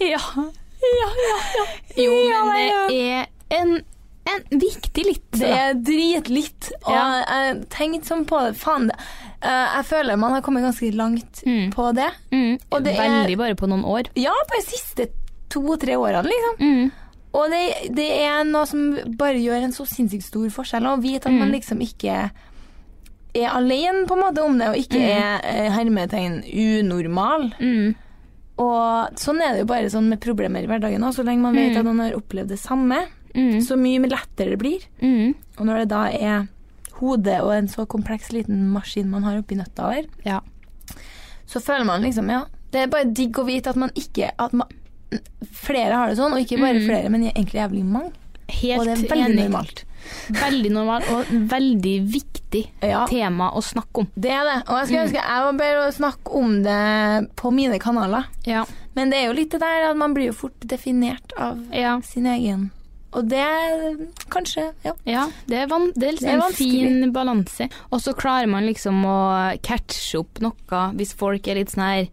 [SPEAKER 2] Ja. Ja, ja, ja. Jo,
[SPEAKER 1] Ja,
[SPEAKER 2] men
[SPEAKER 1] ja.
[SPEAKER 2] det er en, en viktig litt.
[SPEAKER 1] Det
[SPEAKER 2] da.
[SPEAKER 1] er dritlitt. Og
[SPEAKER 2] Ja.
[SPEAKER 1] jeg tenkte sånn på det. Faen, det- eh, jeg føler man har kommet ganske langt
[SPEAKER 2] Mm.
[SPEAKER 1] på det.
[SPEAKER 2] Mm.
[SPEAKER 1] Og det er-
[SPEAKER 2] Veldig bare på noen år.
[SPEAKER 1] Ja, på de siste to-tre årene, liksom.
[SPEAKER 2] Mm.
[SPEAKER 1] Og det, det er noe som bare gjør en så sinnssykt stor forskjell. Å vite at man
[SPEAKER 2] Mm.
[SPEAKER 1] liksom ikke er alene på en måte om det, og ikke
[SPEAKER 2] Mm.
[SPEAKER 1] er eh, hermetegn unormal.
[SPEAKER 2] Mm.
[SPEAKER 1] Og sånn er det jo bare sånn med problemer i hverdagen også. Så lenge man vet
[SPEAKER 2] Mm.
[SPEAKER 1] at noen har opplevd det samme,
[SPEAKER 2] Mm.
[SPEAKER 1] så mye lettere det blir.
[SPEAKER 2] Mm.
[SPEAKER 1] Og når det da er hodet og en så kompleks liten maskin man har oppi nøtta her,
[SPEAKER 2] Ja.
[SPEAKER 1] så føler man liksom, ja Det er bare digg å vite at man ikke at man, Flere har det sånn, og ikke bare
[SPEAKER 2] Mm.
[SPEAKER 1] flere, men egentlig jævlig mange.
[SPEAKER 2] Helt
[SPEAKER 1] Og det er veldig
[SPEAKER 2] enig.
[SPEAKER 1] normalt.
[SPEAKER 2] Veldig normalt og veldig viktig
[SPEAKER 1] Ja,
[SPEAKER 2] tema å snakke om.
[SPEAKER 1] det er det. Og jeg skulle
[SPEAKER 2] Mm.
[SPEAKER 1] ønske jeg var bedre å snakke om det på mine kanaler.
[SPEAKER 2] Ja.
[SPEAKER 1] Men det er jo litt det der at man blir jo fort definert av
[SPEAKER 2] ja.
[SPEAKER 1] sin egen Og det er kanskje Ja.
[SPEAKER 2] Ja, det er, van det er liksom
[SPEAKER 1] Det er
[SPEAKER 2] en
[SPEAKER 1] vanskelig.
[SPEAKER 2] fin balanse. Og så klarer man liksom å catche opp noe hvis folk er litt sånn her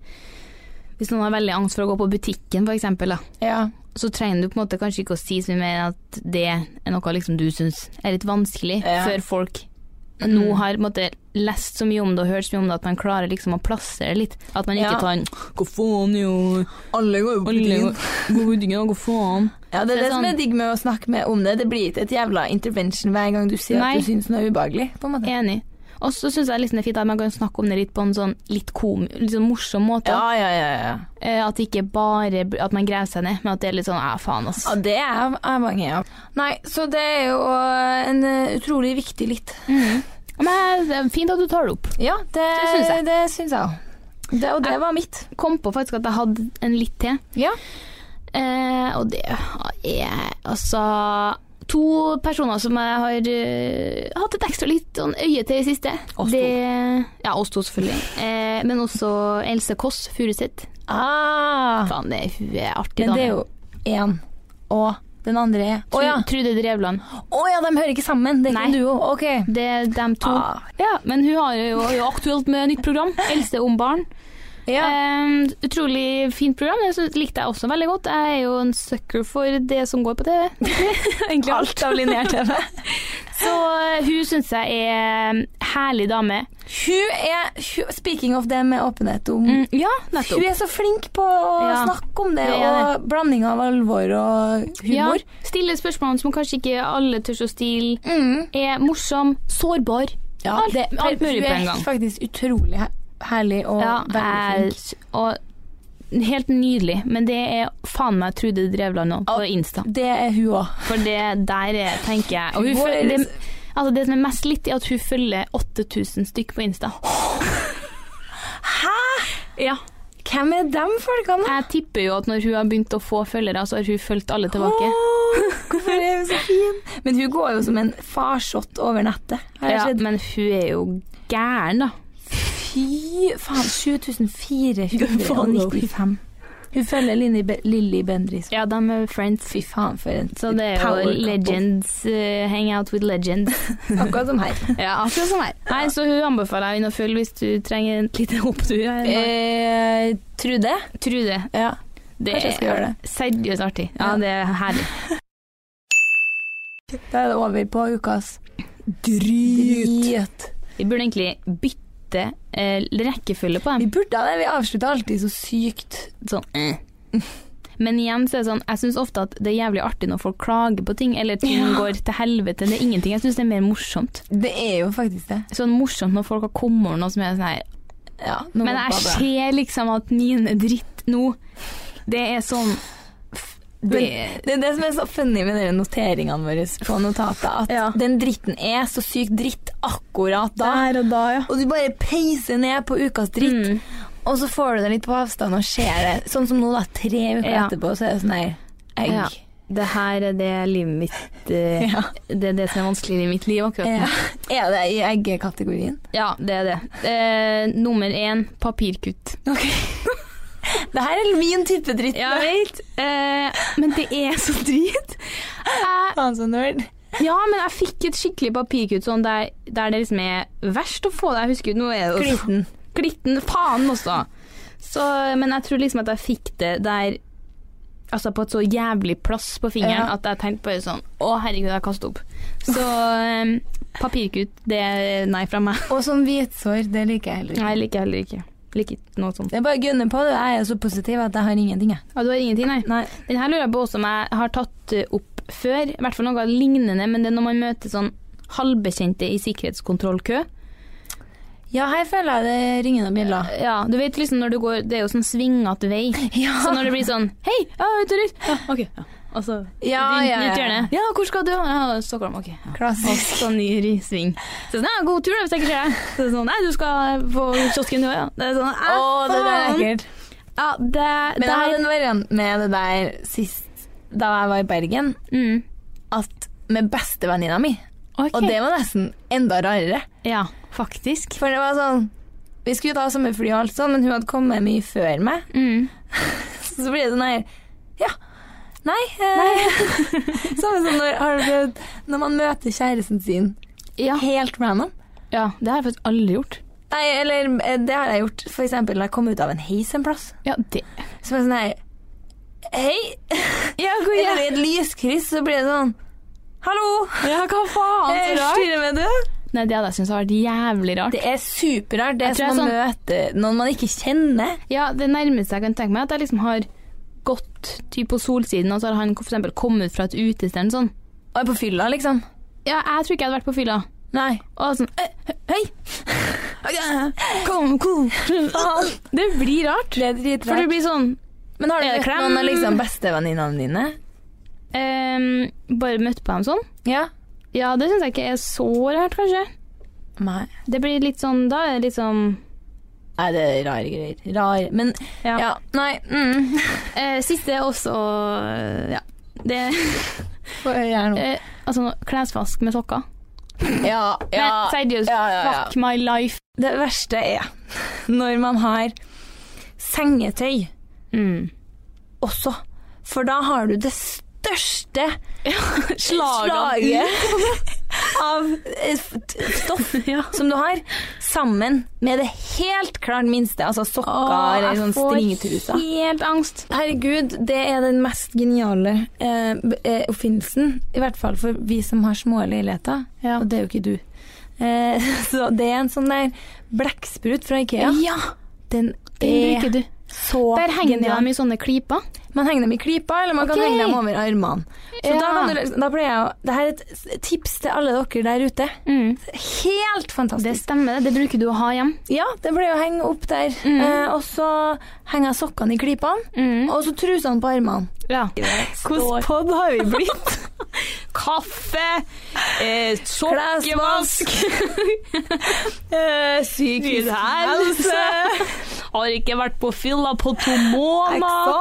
[SPEAKER 2] Hvis noen har veldig angst for å gå på butikken, for eksempel, da.
[SPEAKER 1] ja.
[SPEAKER 2] Så trenger du på en måte kanskje ikke å si så mye mer enn at det er noe liksom du syns er litt vanskelig,
[SPEAKER 1] Ja.
[SPEAKER 2] før folk
[SPEAKER 1] Mm.
[SPEAKER 2] nå har på en måte lest så mye om det og hørt så mye om det at man klarer liksom å plassere litt. At man ikke
[SPEAKER 1] Ja.
[SPEAKER 2] tar en Hva faen, jo
[SPEAKER 1] Alle går jo
[SPEAKER 2] Alle går går på butikken, ja, hva faen?
[SPEAKER 1] Ja, det er
[SPEAKER 2] Det er
[SPEAKER 1] det som
[SPEAKER 2] sånn-
[SPEAKER 1] er digg med å snakke med om det. Det blir ikke et jævla intervention hver gang du sier
[SPEAKER 2] Nei.
[SPEAKER 1] at du syns noe er ubehagelig. på en måte.
[SPEAKER 2] Enig. Og så syns jeg liksom det er fint at man kan snakke om det litt på en sånn litt, kom, litt sånn morsom måte.
[SPEAKER 1] Ja, ja, ja. ja.
[SPEAKER 2] Eh, At det ikke bare bl- at man graver seg ned, men at det er litt sånn ja, faen, altså.
[SPEAKER 1] ja det er jeg avhengig av. Nei, så det er jo en eh, utrolig viktig litt.
[SPEAKER 2] Mm. Men det er fint at du tar det opp.
[SPEAKER 1] Ja, det,
[SPEAKER 2] Det syns jeg.
[SPEAKER 1] det syns jeg òg. Det, og det var mitt.
[SPEAKER 2] Kom på faktisk at jeg hadde en litt til.
[SPEAKER 1] Ja.
[SPEAKER 2] Eh, og det er altså to personer som jeg har eh, hatt et ekstra litt sånn øye til i det siste.
[SPEAKER 1] Oss to.
[SPEAKER 2] det, Ja, oss to, selvfølgelig. Eh, men også Else Kåss Furuseth.
[SPEAKER 1] Ah,
[SPEAKER 2] Faen, det, hun er artig,
[SPEAKER 1] men
[SPEAKER 2] dame.
[SPEAKER 1] det er jo én. Og den andre er Å
[SPEAKER 2] Tru-
[SPEAKER 1] ja.
[SPEAKER 2] Trude Drevland.
[SPEAKER 1] Å ja, de hører ikke sammen. Det er ikke
[SPEAKER 2] Nei.
[SPEAKER 1] en duo. OK.
[SPEAKER 2] Det er dem to.
[SPEAKER 1] Ah.
[SPEAKER 2] Ja, men hun har jo, er jo aktuelt med nytt program. Else om barn.
[SPEAKER 1] Ja.
[SPEAKER 2] Eh, utrolig fint program. Det synes- likte jeg også veldig godt. Jeg er jo en sucker for det som går på TV. Egentlig alt.
[SPEAKER 1] Alt av linjer-TV.
[SPEAKER 2] Så eh, hun syns jeg er en herlig dame.
[SPEAKER 1] Hun er hun, Speaking of det med åpenhet om
[SPEAKER 2] Mm, ja,
[SPEAKER 1] Hun
[SPEAKER 2] nettopp.
[SPEAKER 1] er så flink på å
[SPEAKER 2] Ja,
[SPEAKER 1] snakke om det,
[SPEAKER 2] det er
[SPEAKER 1] og blanding av alvor og
[SPEAKER 2] Ja,
[SPEAKER 1] humor.
[SPEAKER 2] stille spørsmål som kanskje ikke alle tør å stille.
[SPEAKER 1] Mm.
[SPEAKER 2] Er morsom, sårbar.
[SPEAKER 1] Ja,
[SPEAKER 2] Alt-
[SPEAKER 1] det,
[SPEAKER 2] alt mulig
[SPEAKER 1] hun
[SPEAKER 2] på en
[SPEAKER 1] er
[SPEAKER 2] gang.
[SPEAKER 1] faktisk utrolig he- herlig og
[SPEAKER 2] ja,
[SPEAKER 1] veldig flink.
[SPEAKER 2] jeg- og helt nydelig. Men det er faen meg Trude Drevland òg, på
[SPEAKER 1] Ja.
[SPEAKER 2] Insta.
[SPEAKER 1] Det er hun òg.
[SPEAKER 2] For det der er, tenker jeg og hun
[SPEAKER 1] Vår-
[SPEAKER 2] følger, det, altså det som er mest litt, er at hun følger 8000 stykk på Insta.
[SPEAKER 1] Hæ?!
[SPEAKER 2] Ja.
[SPEAKER 1] Hvem er dem folkene?
[SPEAKER 2] Jeg tipper jo at når hun har begynt å få følgere, så har hun fulgt alle tilbake.
[SPEAKER 1] Åh, hvorfor er hun så fin? Men hun går jo som en farsott over nettet. Har jeg
[SPEAKER 2] Ja,
[SPEAKER 1] sett.
[SPEAKER 2] men hun er jo gæren, da.
[SPEAKER 1] Fy faen, 7495. Hun følger Lilly, Be Lilly Bendriss.
[SPEAKER 2] Ja, de er altså. friends.
[SPEAKER 1] Fy faen, for en
[SPEAKER 2] Så det er
[SPEAKER 1] power
[SPEAKER 2] jo
[SPEAKER 1] couple.
[SPEAKER 2] legends. eh, hang out with legends.
[SPEAKER 1] Akkurat som her.
[SPEAKER 2] Ja, akkurat som meg. Nei, så hun anbefaler jeg henne å følge hvis du trenger en liten opptur. her.
[SPEAKER 1] Eh, Trude?
[SPEAKER 2] Trude.
[SPEAKER 1] Ja,
[SPEAKER 2] Det
[SPEAKER 1] kanskje jeg skal
[SPEAKER 2] er
[SPEAKER 1] gjøre det.
[SPEAKER 2] seriøst artig. Ja,
[SPEAKER 1] Ja.
[SPEAKER 2] det er herlig.
[SPEAKER 1] Da er det over på ukas Drit.
[SPEAKER 2] Vi burde egentlig bytte eh, rekkefølge på
[SPEAKER 1] Vi
[SPEAKER 2] dem.
[SPEAKER 1] burde ha det. Vi avslutter alltid så sykt.
[SPEAKER 2] Sånn. eh. Men igjen så er det sånn, jeg syns ofte at det er jævlig artig når folk klager på ting, eller ting
[SPEAKER 1] Ja.
[SPEAKER 2] går til helvete. Det er ingenting. Jeg syns det er mer morsomt.
[SPEAKER 1] Det er jo faktisk det.
[SPEAKER 2] Sånn morsomt når folk har kommet over noe som er sånn her
[SPEAKER 1] Ja, nå
[SPEAKER 2] Men jeg
[SPEAKER 1] bare-
[SPEAKER 2] ser liksom at Nine dritt nå. Det er sånn f- det,
[SPEAKER 1] Det er det som er så funny med dere noteringene våre på notatet, at
[SPEAKER 2] Ja.
[SPEAKER 1] den dritten er så sykt dritt akkurat da.
[SPEAKER 2] og da, ja.
[SPEAKER 1] Og du bare peiser ned på ukas dritt,
[SPEAKER 2] Dritt.
[SPEAKER 1] og så får du det litt på avstand og ser det. Sånn som nå, da. Tre uker
[SPEAKER 2] Ja.
[SPEAKER 1] etterpå, så er det sånn her egg.
[SPEAKER 2] Ja. Det her er det livet mitt eh,
[SPEAKER 1] Ja.
[SPEAKER 2] Det er det som er vanskelig i mitt liv akkurat nå.
[SPEAKER 1] Ja. Er det i eggekategorien?
[SPEAKER 2] Ja, det er det. Eh, nummer én papirkutt.
[SPEAKER 1] Det her er min type dritt.
[SPEAKER 2] Ja, jeg vet. Eh, men det er så drit. Jeg-
[SPEAKER 1] Faen så nerd.
[SPEAKER 2] ja, men jeg fikk et skikkelig papirkutt sånn der, der det liksom er verst å få det. Jeg husker, nå er det jo-
[SPEAKER 1] Glitten.
[SPEAKER 2] Glitten, faen også. Så, men jeg tror liksom at jeg fikk det der Altså på et så jævlig plass på fingeren
[SPEAKER 1] Ja.
[SPEAKER 2] at jeg tenkte bare sånn Å, herregud, jeg kaster opp. Så um, papirkutt, det er nei fra meg.
[SPEAKER 1] Og som hvitsår, det liker jeg heller ikke.
[SPEAKER 2] Jeg liker heller ikke. Liker ikke noe sånt.
[SPEAKER 1] Det er bare å gunne på det. Jeg er så positiv at jeg har ingenting, jeg.
[SPEAKER 2] Ja, du har ingenting, nei?
[SPEAKER 1] Nei.
[SPEAKER 2] Den her lurer jeg på også om jeg har tatt eh, opp før. I hvert fall noe lignende, men det er når man møter sånn halvbekjente i sikkerhetskontrollkø.
[SPEAKER 1] Ja, her føler jeg det ringer noen bjeller.
[SPEAKER 2] Ja, du vet liksom når du går Det er jo sånn svingete vei.
[SPEAKER 1] Eh, Ja.
[SPEAKER 2] Så når det blir sånn Hei, ja, ute og Ja, ok. Ja. Og så
[SPEAKER 1] ja, ja, ja.
[SPEAKER 2] rundt hjørnet. Ja, hvor skal du? Ja, Stockholm, ok. Ja. Og
[SPEAKER 1] Klassisk.
[SPEAKER 2] så ny ri- sving. Så sånn, ja, god tur da, hvis jeg ikke ser deg. Så sånn, nei, du skal på kiosken du òg, ja. Det er sånn,
[SPEAKER 1] Å, det der er
[SPEAKER 2] faen.
[SPEAKER 1] ekkelt.
[SPEAKER 2] Ja, det,
[SPEAKER 1] Men
[SPEAKER 2] det
[SPEAKER 1] jeg
[SPEAKER 2] er
[SPEAKER 1] hadde en variant med det der sist da jeg var i Bergen,
[SPEAKER 2] mm,
[SPEAKER 1] at med bestevenninna mi.
[SPEAKER 2] Ok.
[SPEAKER 1] Og det var nesten enda rarere.
[SPEAKER 2] Ja, faktisk.
[SPEAKER 1] For det var sånn Vi skulle ta sommerfly og alt sånn, men hun hadde kommet mye før meg.
[SPEAKER 2] Mm.
[SPEAKER 1] Så blir det sånn her Ja. Nei. Eh, Samme som når, har du prøvd, når man møter kjæresten sin
[SPEAKER 2] Ja.
[SPEAKER 1] helt random.
[SPEAKER 2] ja, det har jeg faktisk aldri gjort.
[SPEAKER 1] Nei, eller eh, det har jeg gjort f.eks. når jeg kom ut av en heis en plass.
[SPEAKER 2] Ja, det
[SPEAKER 1] Så var jeg sånn her Hei!
[SPEAKER 2] Ja, hvor
[SPEAKER 1] Eller i et lyskryss, så blir det sånn Hallo!
[SPEAKER 2] Ja, hva faen, så rart.
[SPEAKER 1] styrer med det.
[SPEAKER 2] Nei, det hadde jeg syntes vært jævlig rart.
[SPEAKER 1] Det er superrart. Det
[SPEAKER 2] Jeg
[SPEAKER 1] er sånn-
[SPEAKER 2] tror
[SPEAKER 1] som å
[SPEAKER 2] jeg
[SPEAKER 1] møte noen man ikke kjenner.
[SPEAKER 2] Ja, det nærmeste jeg kan tenke meg er at jeg liksom har gått typ på solsiden, og så har han for eksempel kommet fra et utested eller sånn.
[SPEAKER 1] Og er på fylla, liksom.
[SPEAKER 2] Ja, jeg tror ikke jeg hadde vært på fylla.
[SPEAKER 1] Nei.
[SPEAKER 2] Og sånn, «Eh, hei! Kom, kom!
[SPEAKER 1] Faen.
[SPEAKER 2] Det blir rart.
[SPEAKER 1] Det er
[SPEAKER 2] For det
[SPEAKER 1] dritrart.
[SPEAKER 2] blir sånn,
[SPEAKER 1] Men har du
[SPEAKER 2] Er det
[SPEAKER 1] møtt
[SPEAKER 2] klem?
[SPEAKER 1] noen av liksom bestevenninnene dine?
[SPEAKER 2] ehm, bare møtt på dem sånn.
[SPEAKER 1] Ja.
[SPEAKER 2] Ja, det synes jeg ikke er så rart, kanskje.
[SPEAKER 1] Nei.
[SPEAKER 2] Det blir litt sånn, da er det litt sånn,
[SPEAKER 1] Nei, det er rare greier. Rar. Men
[SPEAKER 2] ja.
[SPEAKER 1] ja, nei. Mm.
[SPEAKER 2] Eh, siste er også, eh, ja. Det,
[SPEAKER 1] Får jeg gjøre noe?
[SPEAKER 2] eh, altså, klesvask med sokker.
[SPEAKER 1] Ja, ja.
[SPEAKER 2] Men seriøst,
[SPEAKER 1] Ja, ja, ja.
[SPEAKER 2] fuck my life.
[SPEAKER 1] Det verste er når man har sengetøy
[SPEAKER 2] Mm.
[SPEAKER 1] også. For da har du det største
[SPEAKER 2] Slaget.
[SPEAKER 1] slaget av eh, f- stoff
[SPEAKER 2] ja.
[SPEAKER 1] som du har, sammen med det helt klart minste, altså sokker eller sånn stringtruser.
[SPEAKER 2] helt angst.
[SPEAKER 1] Herregud, det er den mest geniale eh, b- eh, oppfinnelsen, i hvert fall for vi som har små leiligheter,
[SPEAKER 2] Ja.
[SPEAKER 1] og det er jo ikke du. Eh, så det er en sånn der blekksprut fra Ikea. Den
[SPEAKER 2] Den
[SPEAKER 1] er
[SPEAKER 2] bruker du.
[SPEAKER 1] så
[SPEAKER 2] Der henger det
[SPEAKER 1] genial.
[SPEAKER 2] dem i sånne klyper.
[SPEAKER 1] Man henger dem i klypa, eller man
[SPEAKER 2] Ok.
[SPEAKER 1] kan henge dem over armene. Så
[SPEAKER 2] Ja.
[SPEAKER 1] da, kan du, liksom- da pleier jeg å Det her er et s- tips til alle dere der ute.
[SPEAKER 2] Mm.
[SPEAKER 1] Helt
[SPEAKER 2] Det
[SPEAKER 1] fantastisk.
[SPEAKER 2] stemmer, det. Det bruker du å ha hjem.
[SPEAKER 1] Ja, det pleier å henge opp der.
[SPEAKER 2] Mm.
[SPEAKER 1] Eh, og så henger jeg sokkene i klypene,
[SPEAKER 2] Mm.
[SPEAKER 1] og så trusene på armene.
[SPEAKER 2] Ja.
[SPEAKER 1] Hvordan pod har vi blitt?
[SPEAKER 2] Kaffe, eh,
[SPEAKER 1] Klesvask. eh, psykisk
[SPEAKER 2] Lyd her.
[SPEAKER 1] helse.
[SPEAKER 2] har ikke vært på fylla på to måneder.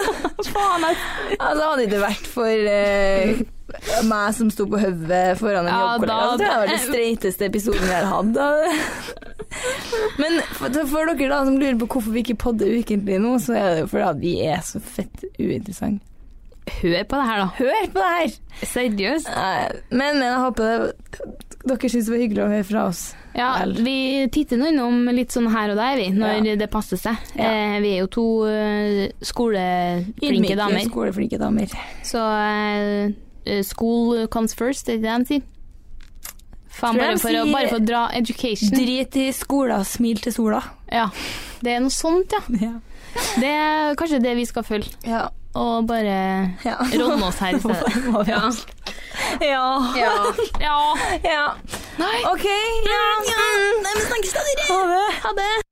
[SPEAKER 1] Eksamen.
[SPEAKER 2] Faen, jeg
[SPEAKER 1] Altså, hadde det ikke vært for eh, meg som sto på hodet foran en
[SPEAKER 2] Ja,
[SPEAKER 1] jobbkollega,
[SPEAKER 2] da-
[SPEAKER 1] så tror jeg det var den streiteste episoden jeg har hatt. Men for, for dere da som lurer på hvorfor vi ikke podder ukentlig nå, så er det jo fordi at vi er så fett uinteressante.
[SPEAKER 2] Hør på det her, da.
[SPEAKER 1] Hør på det her!
[SPEAKER 2] Seriøst.
[SPEAKER 1] Nei, Eh, Men, men jeg håper dere syns det var hyggelig å høre fra oss.
[SPEAKER 2] Ja,
[SPEAKER 1] Vel.
[SPEAKER 2] vi titter nå innom litt sånn her og der, vi, når det passer seg.
[SPEAKER 1] Ja.
[SPEAKER 2] Eh, vi er jo to eh, skoleflinke
[SPEAKER 1] Ydmyke,
[SPEAKER 2] damer,
[SPEAKER 1] Skoleflinke damer.
[SPEAKER 2] så eh, eh, school comes first, er det det de sier? Faen,
[SPEAKER 1] Tror
[SPEAKER 2] bare
[SPEAKER 1] jeg de
[SPEAKER 2] for, å,
[SPEAKER 1] sier-
[SPEAKER 2] bare for å dra education.
[SPEAKER 1] Drit i skolen, smil til sola.
[SPEAKER 2] Ja, det er noe sånt, ja.
[SPEAKER 1] Ja.
[SPEAKER 2] Det er kanskje det vi skal følge,
[SPEAKER 1] ja.
[SPEAKER 2] og bare rådne oss her i stedet.
[SPEAKER 1] Ja.
[SPEAKER 2] Ja.
[SPEAKER 1] ja.
[SPEAKER 2] Ja. ja.
[SPEAKER 1] ja.
[SPEAKER 2] Nei.
[SPEAKER 1] OK. Ja.
[SPEAKER 2] Ja.
[SPEAKER 1] Mm.
[SPEAKER 2] Nei, men snakkes da, dere.
[SPEAKER 1] Ha det.
[SPEAKER 2] Ha det.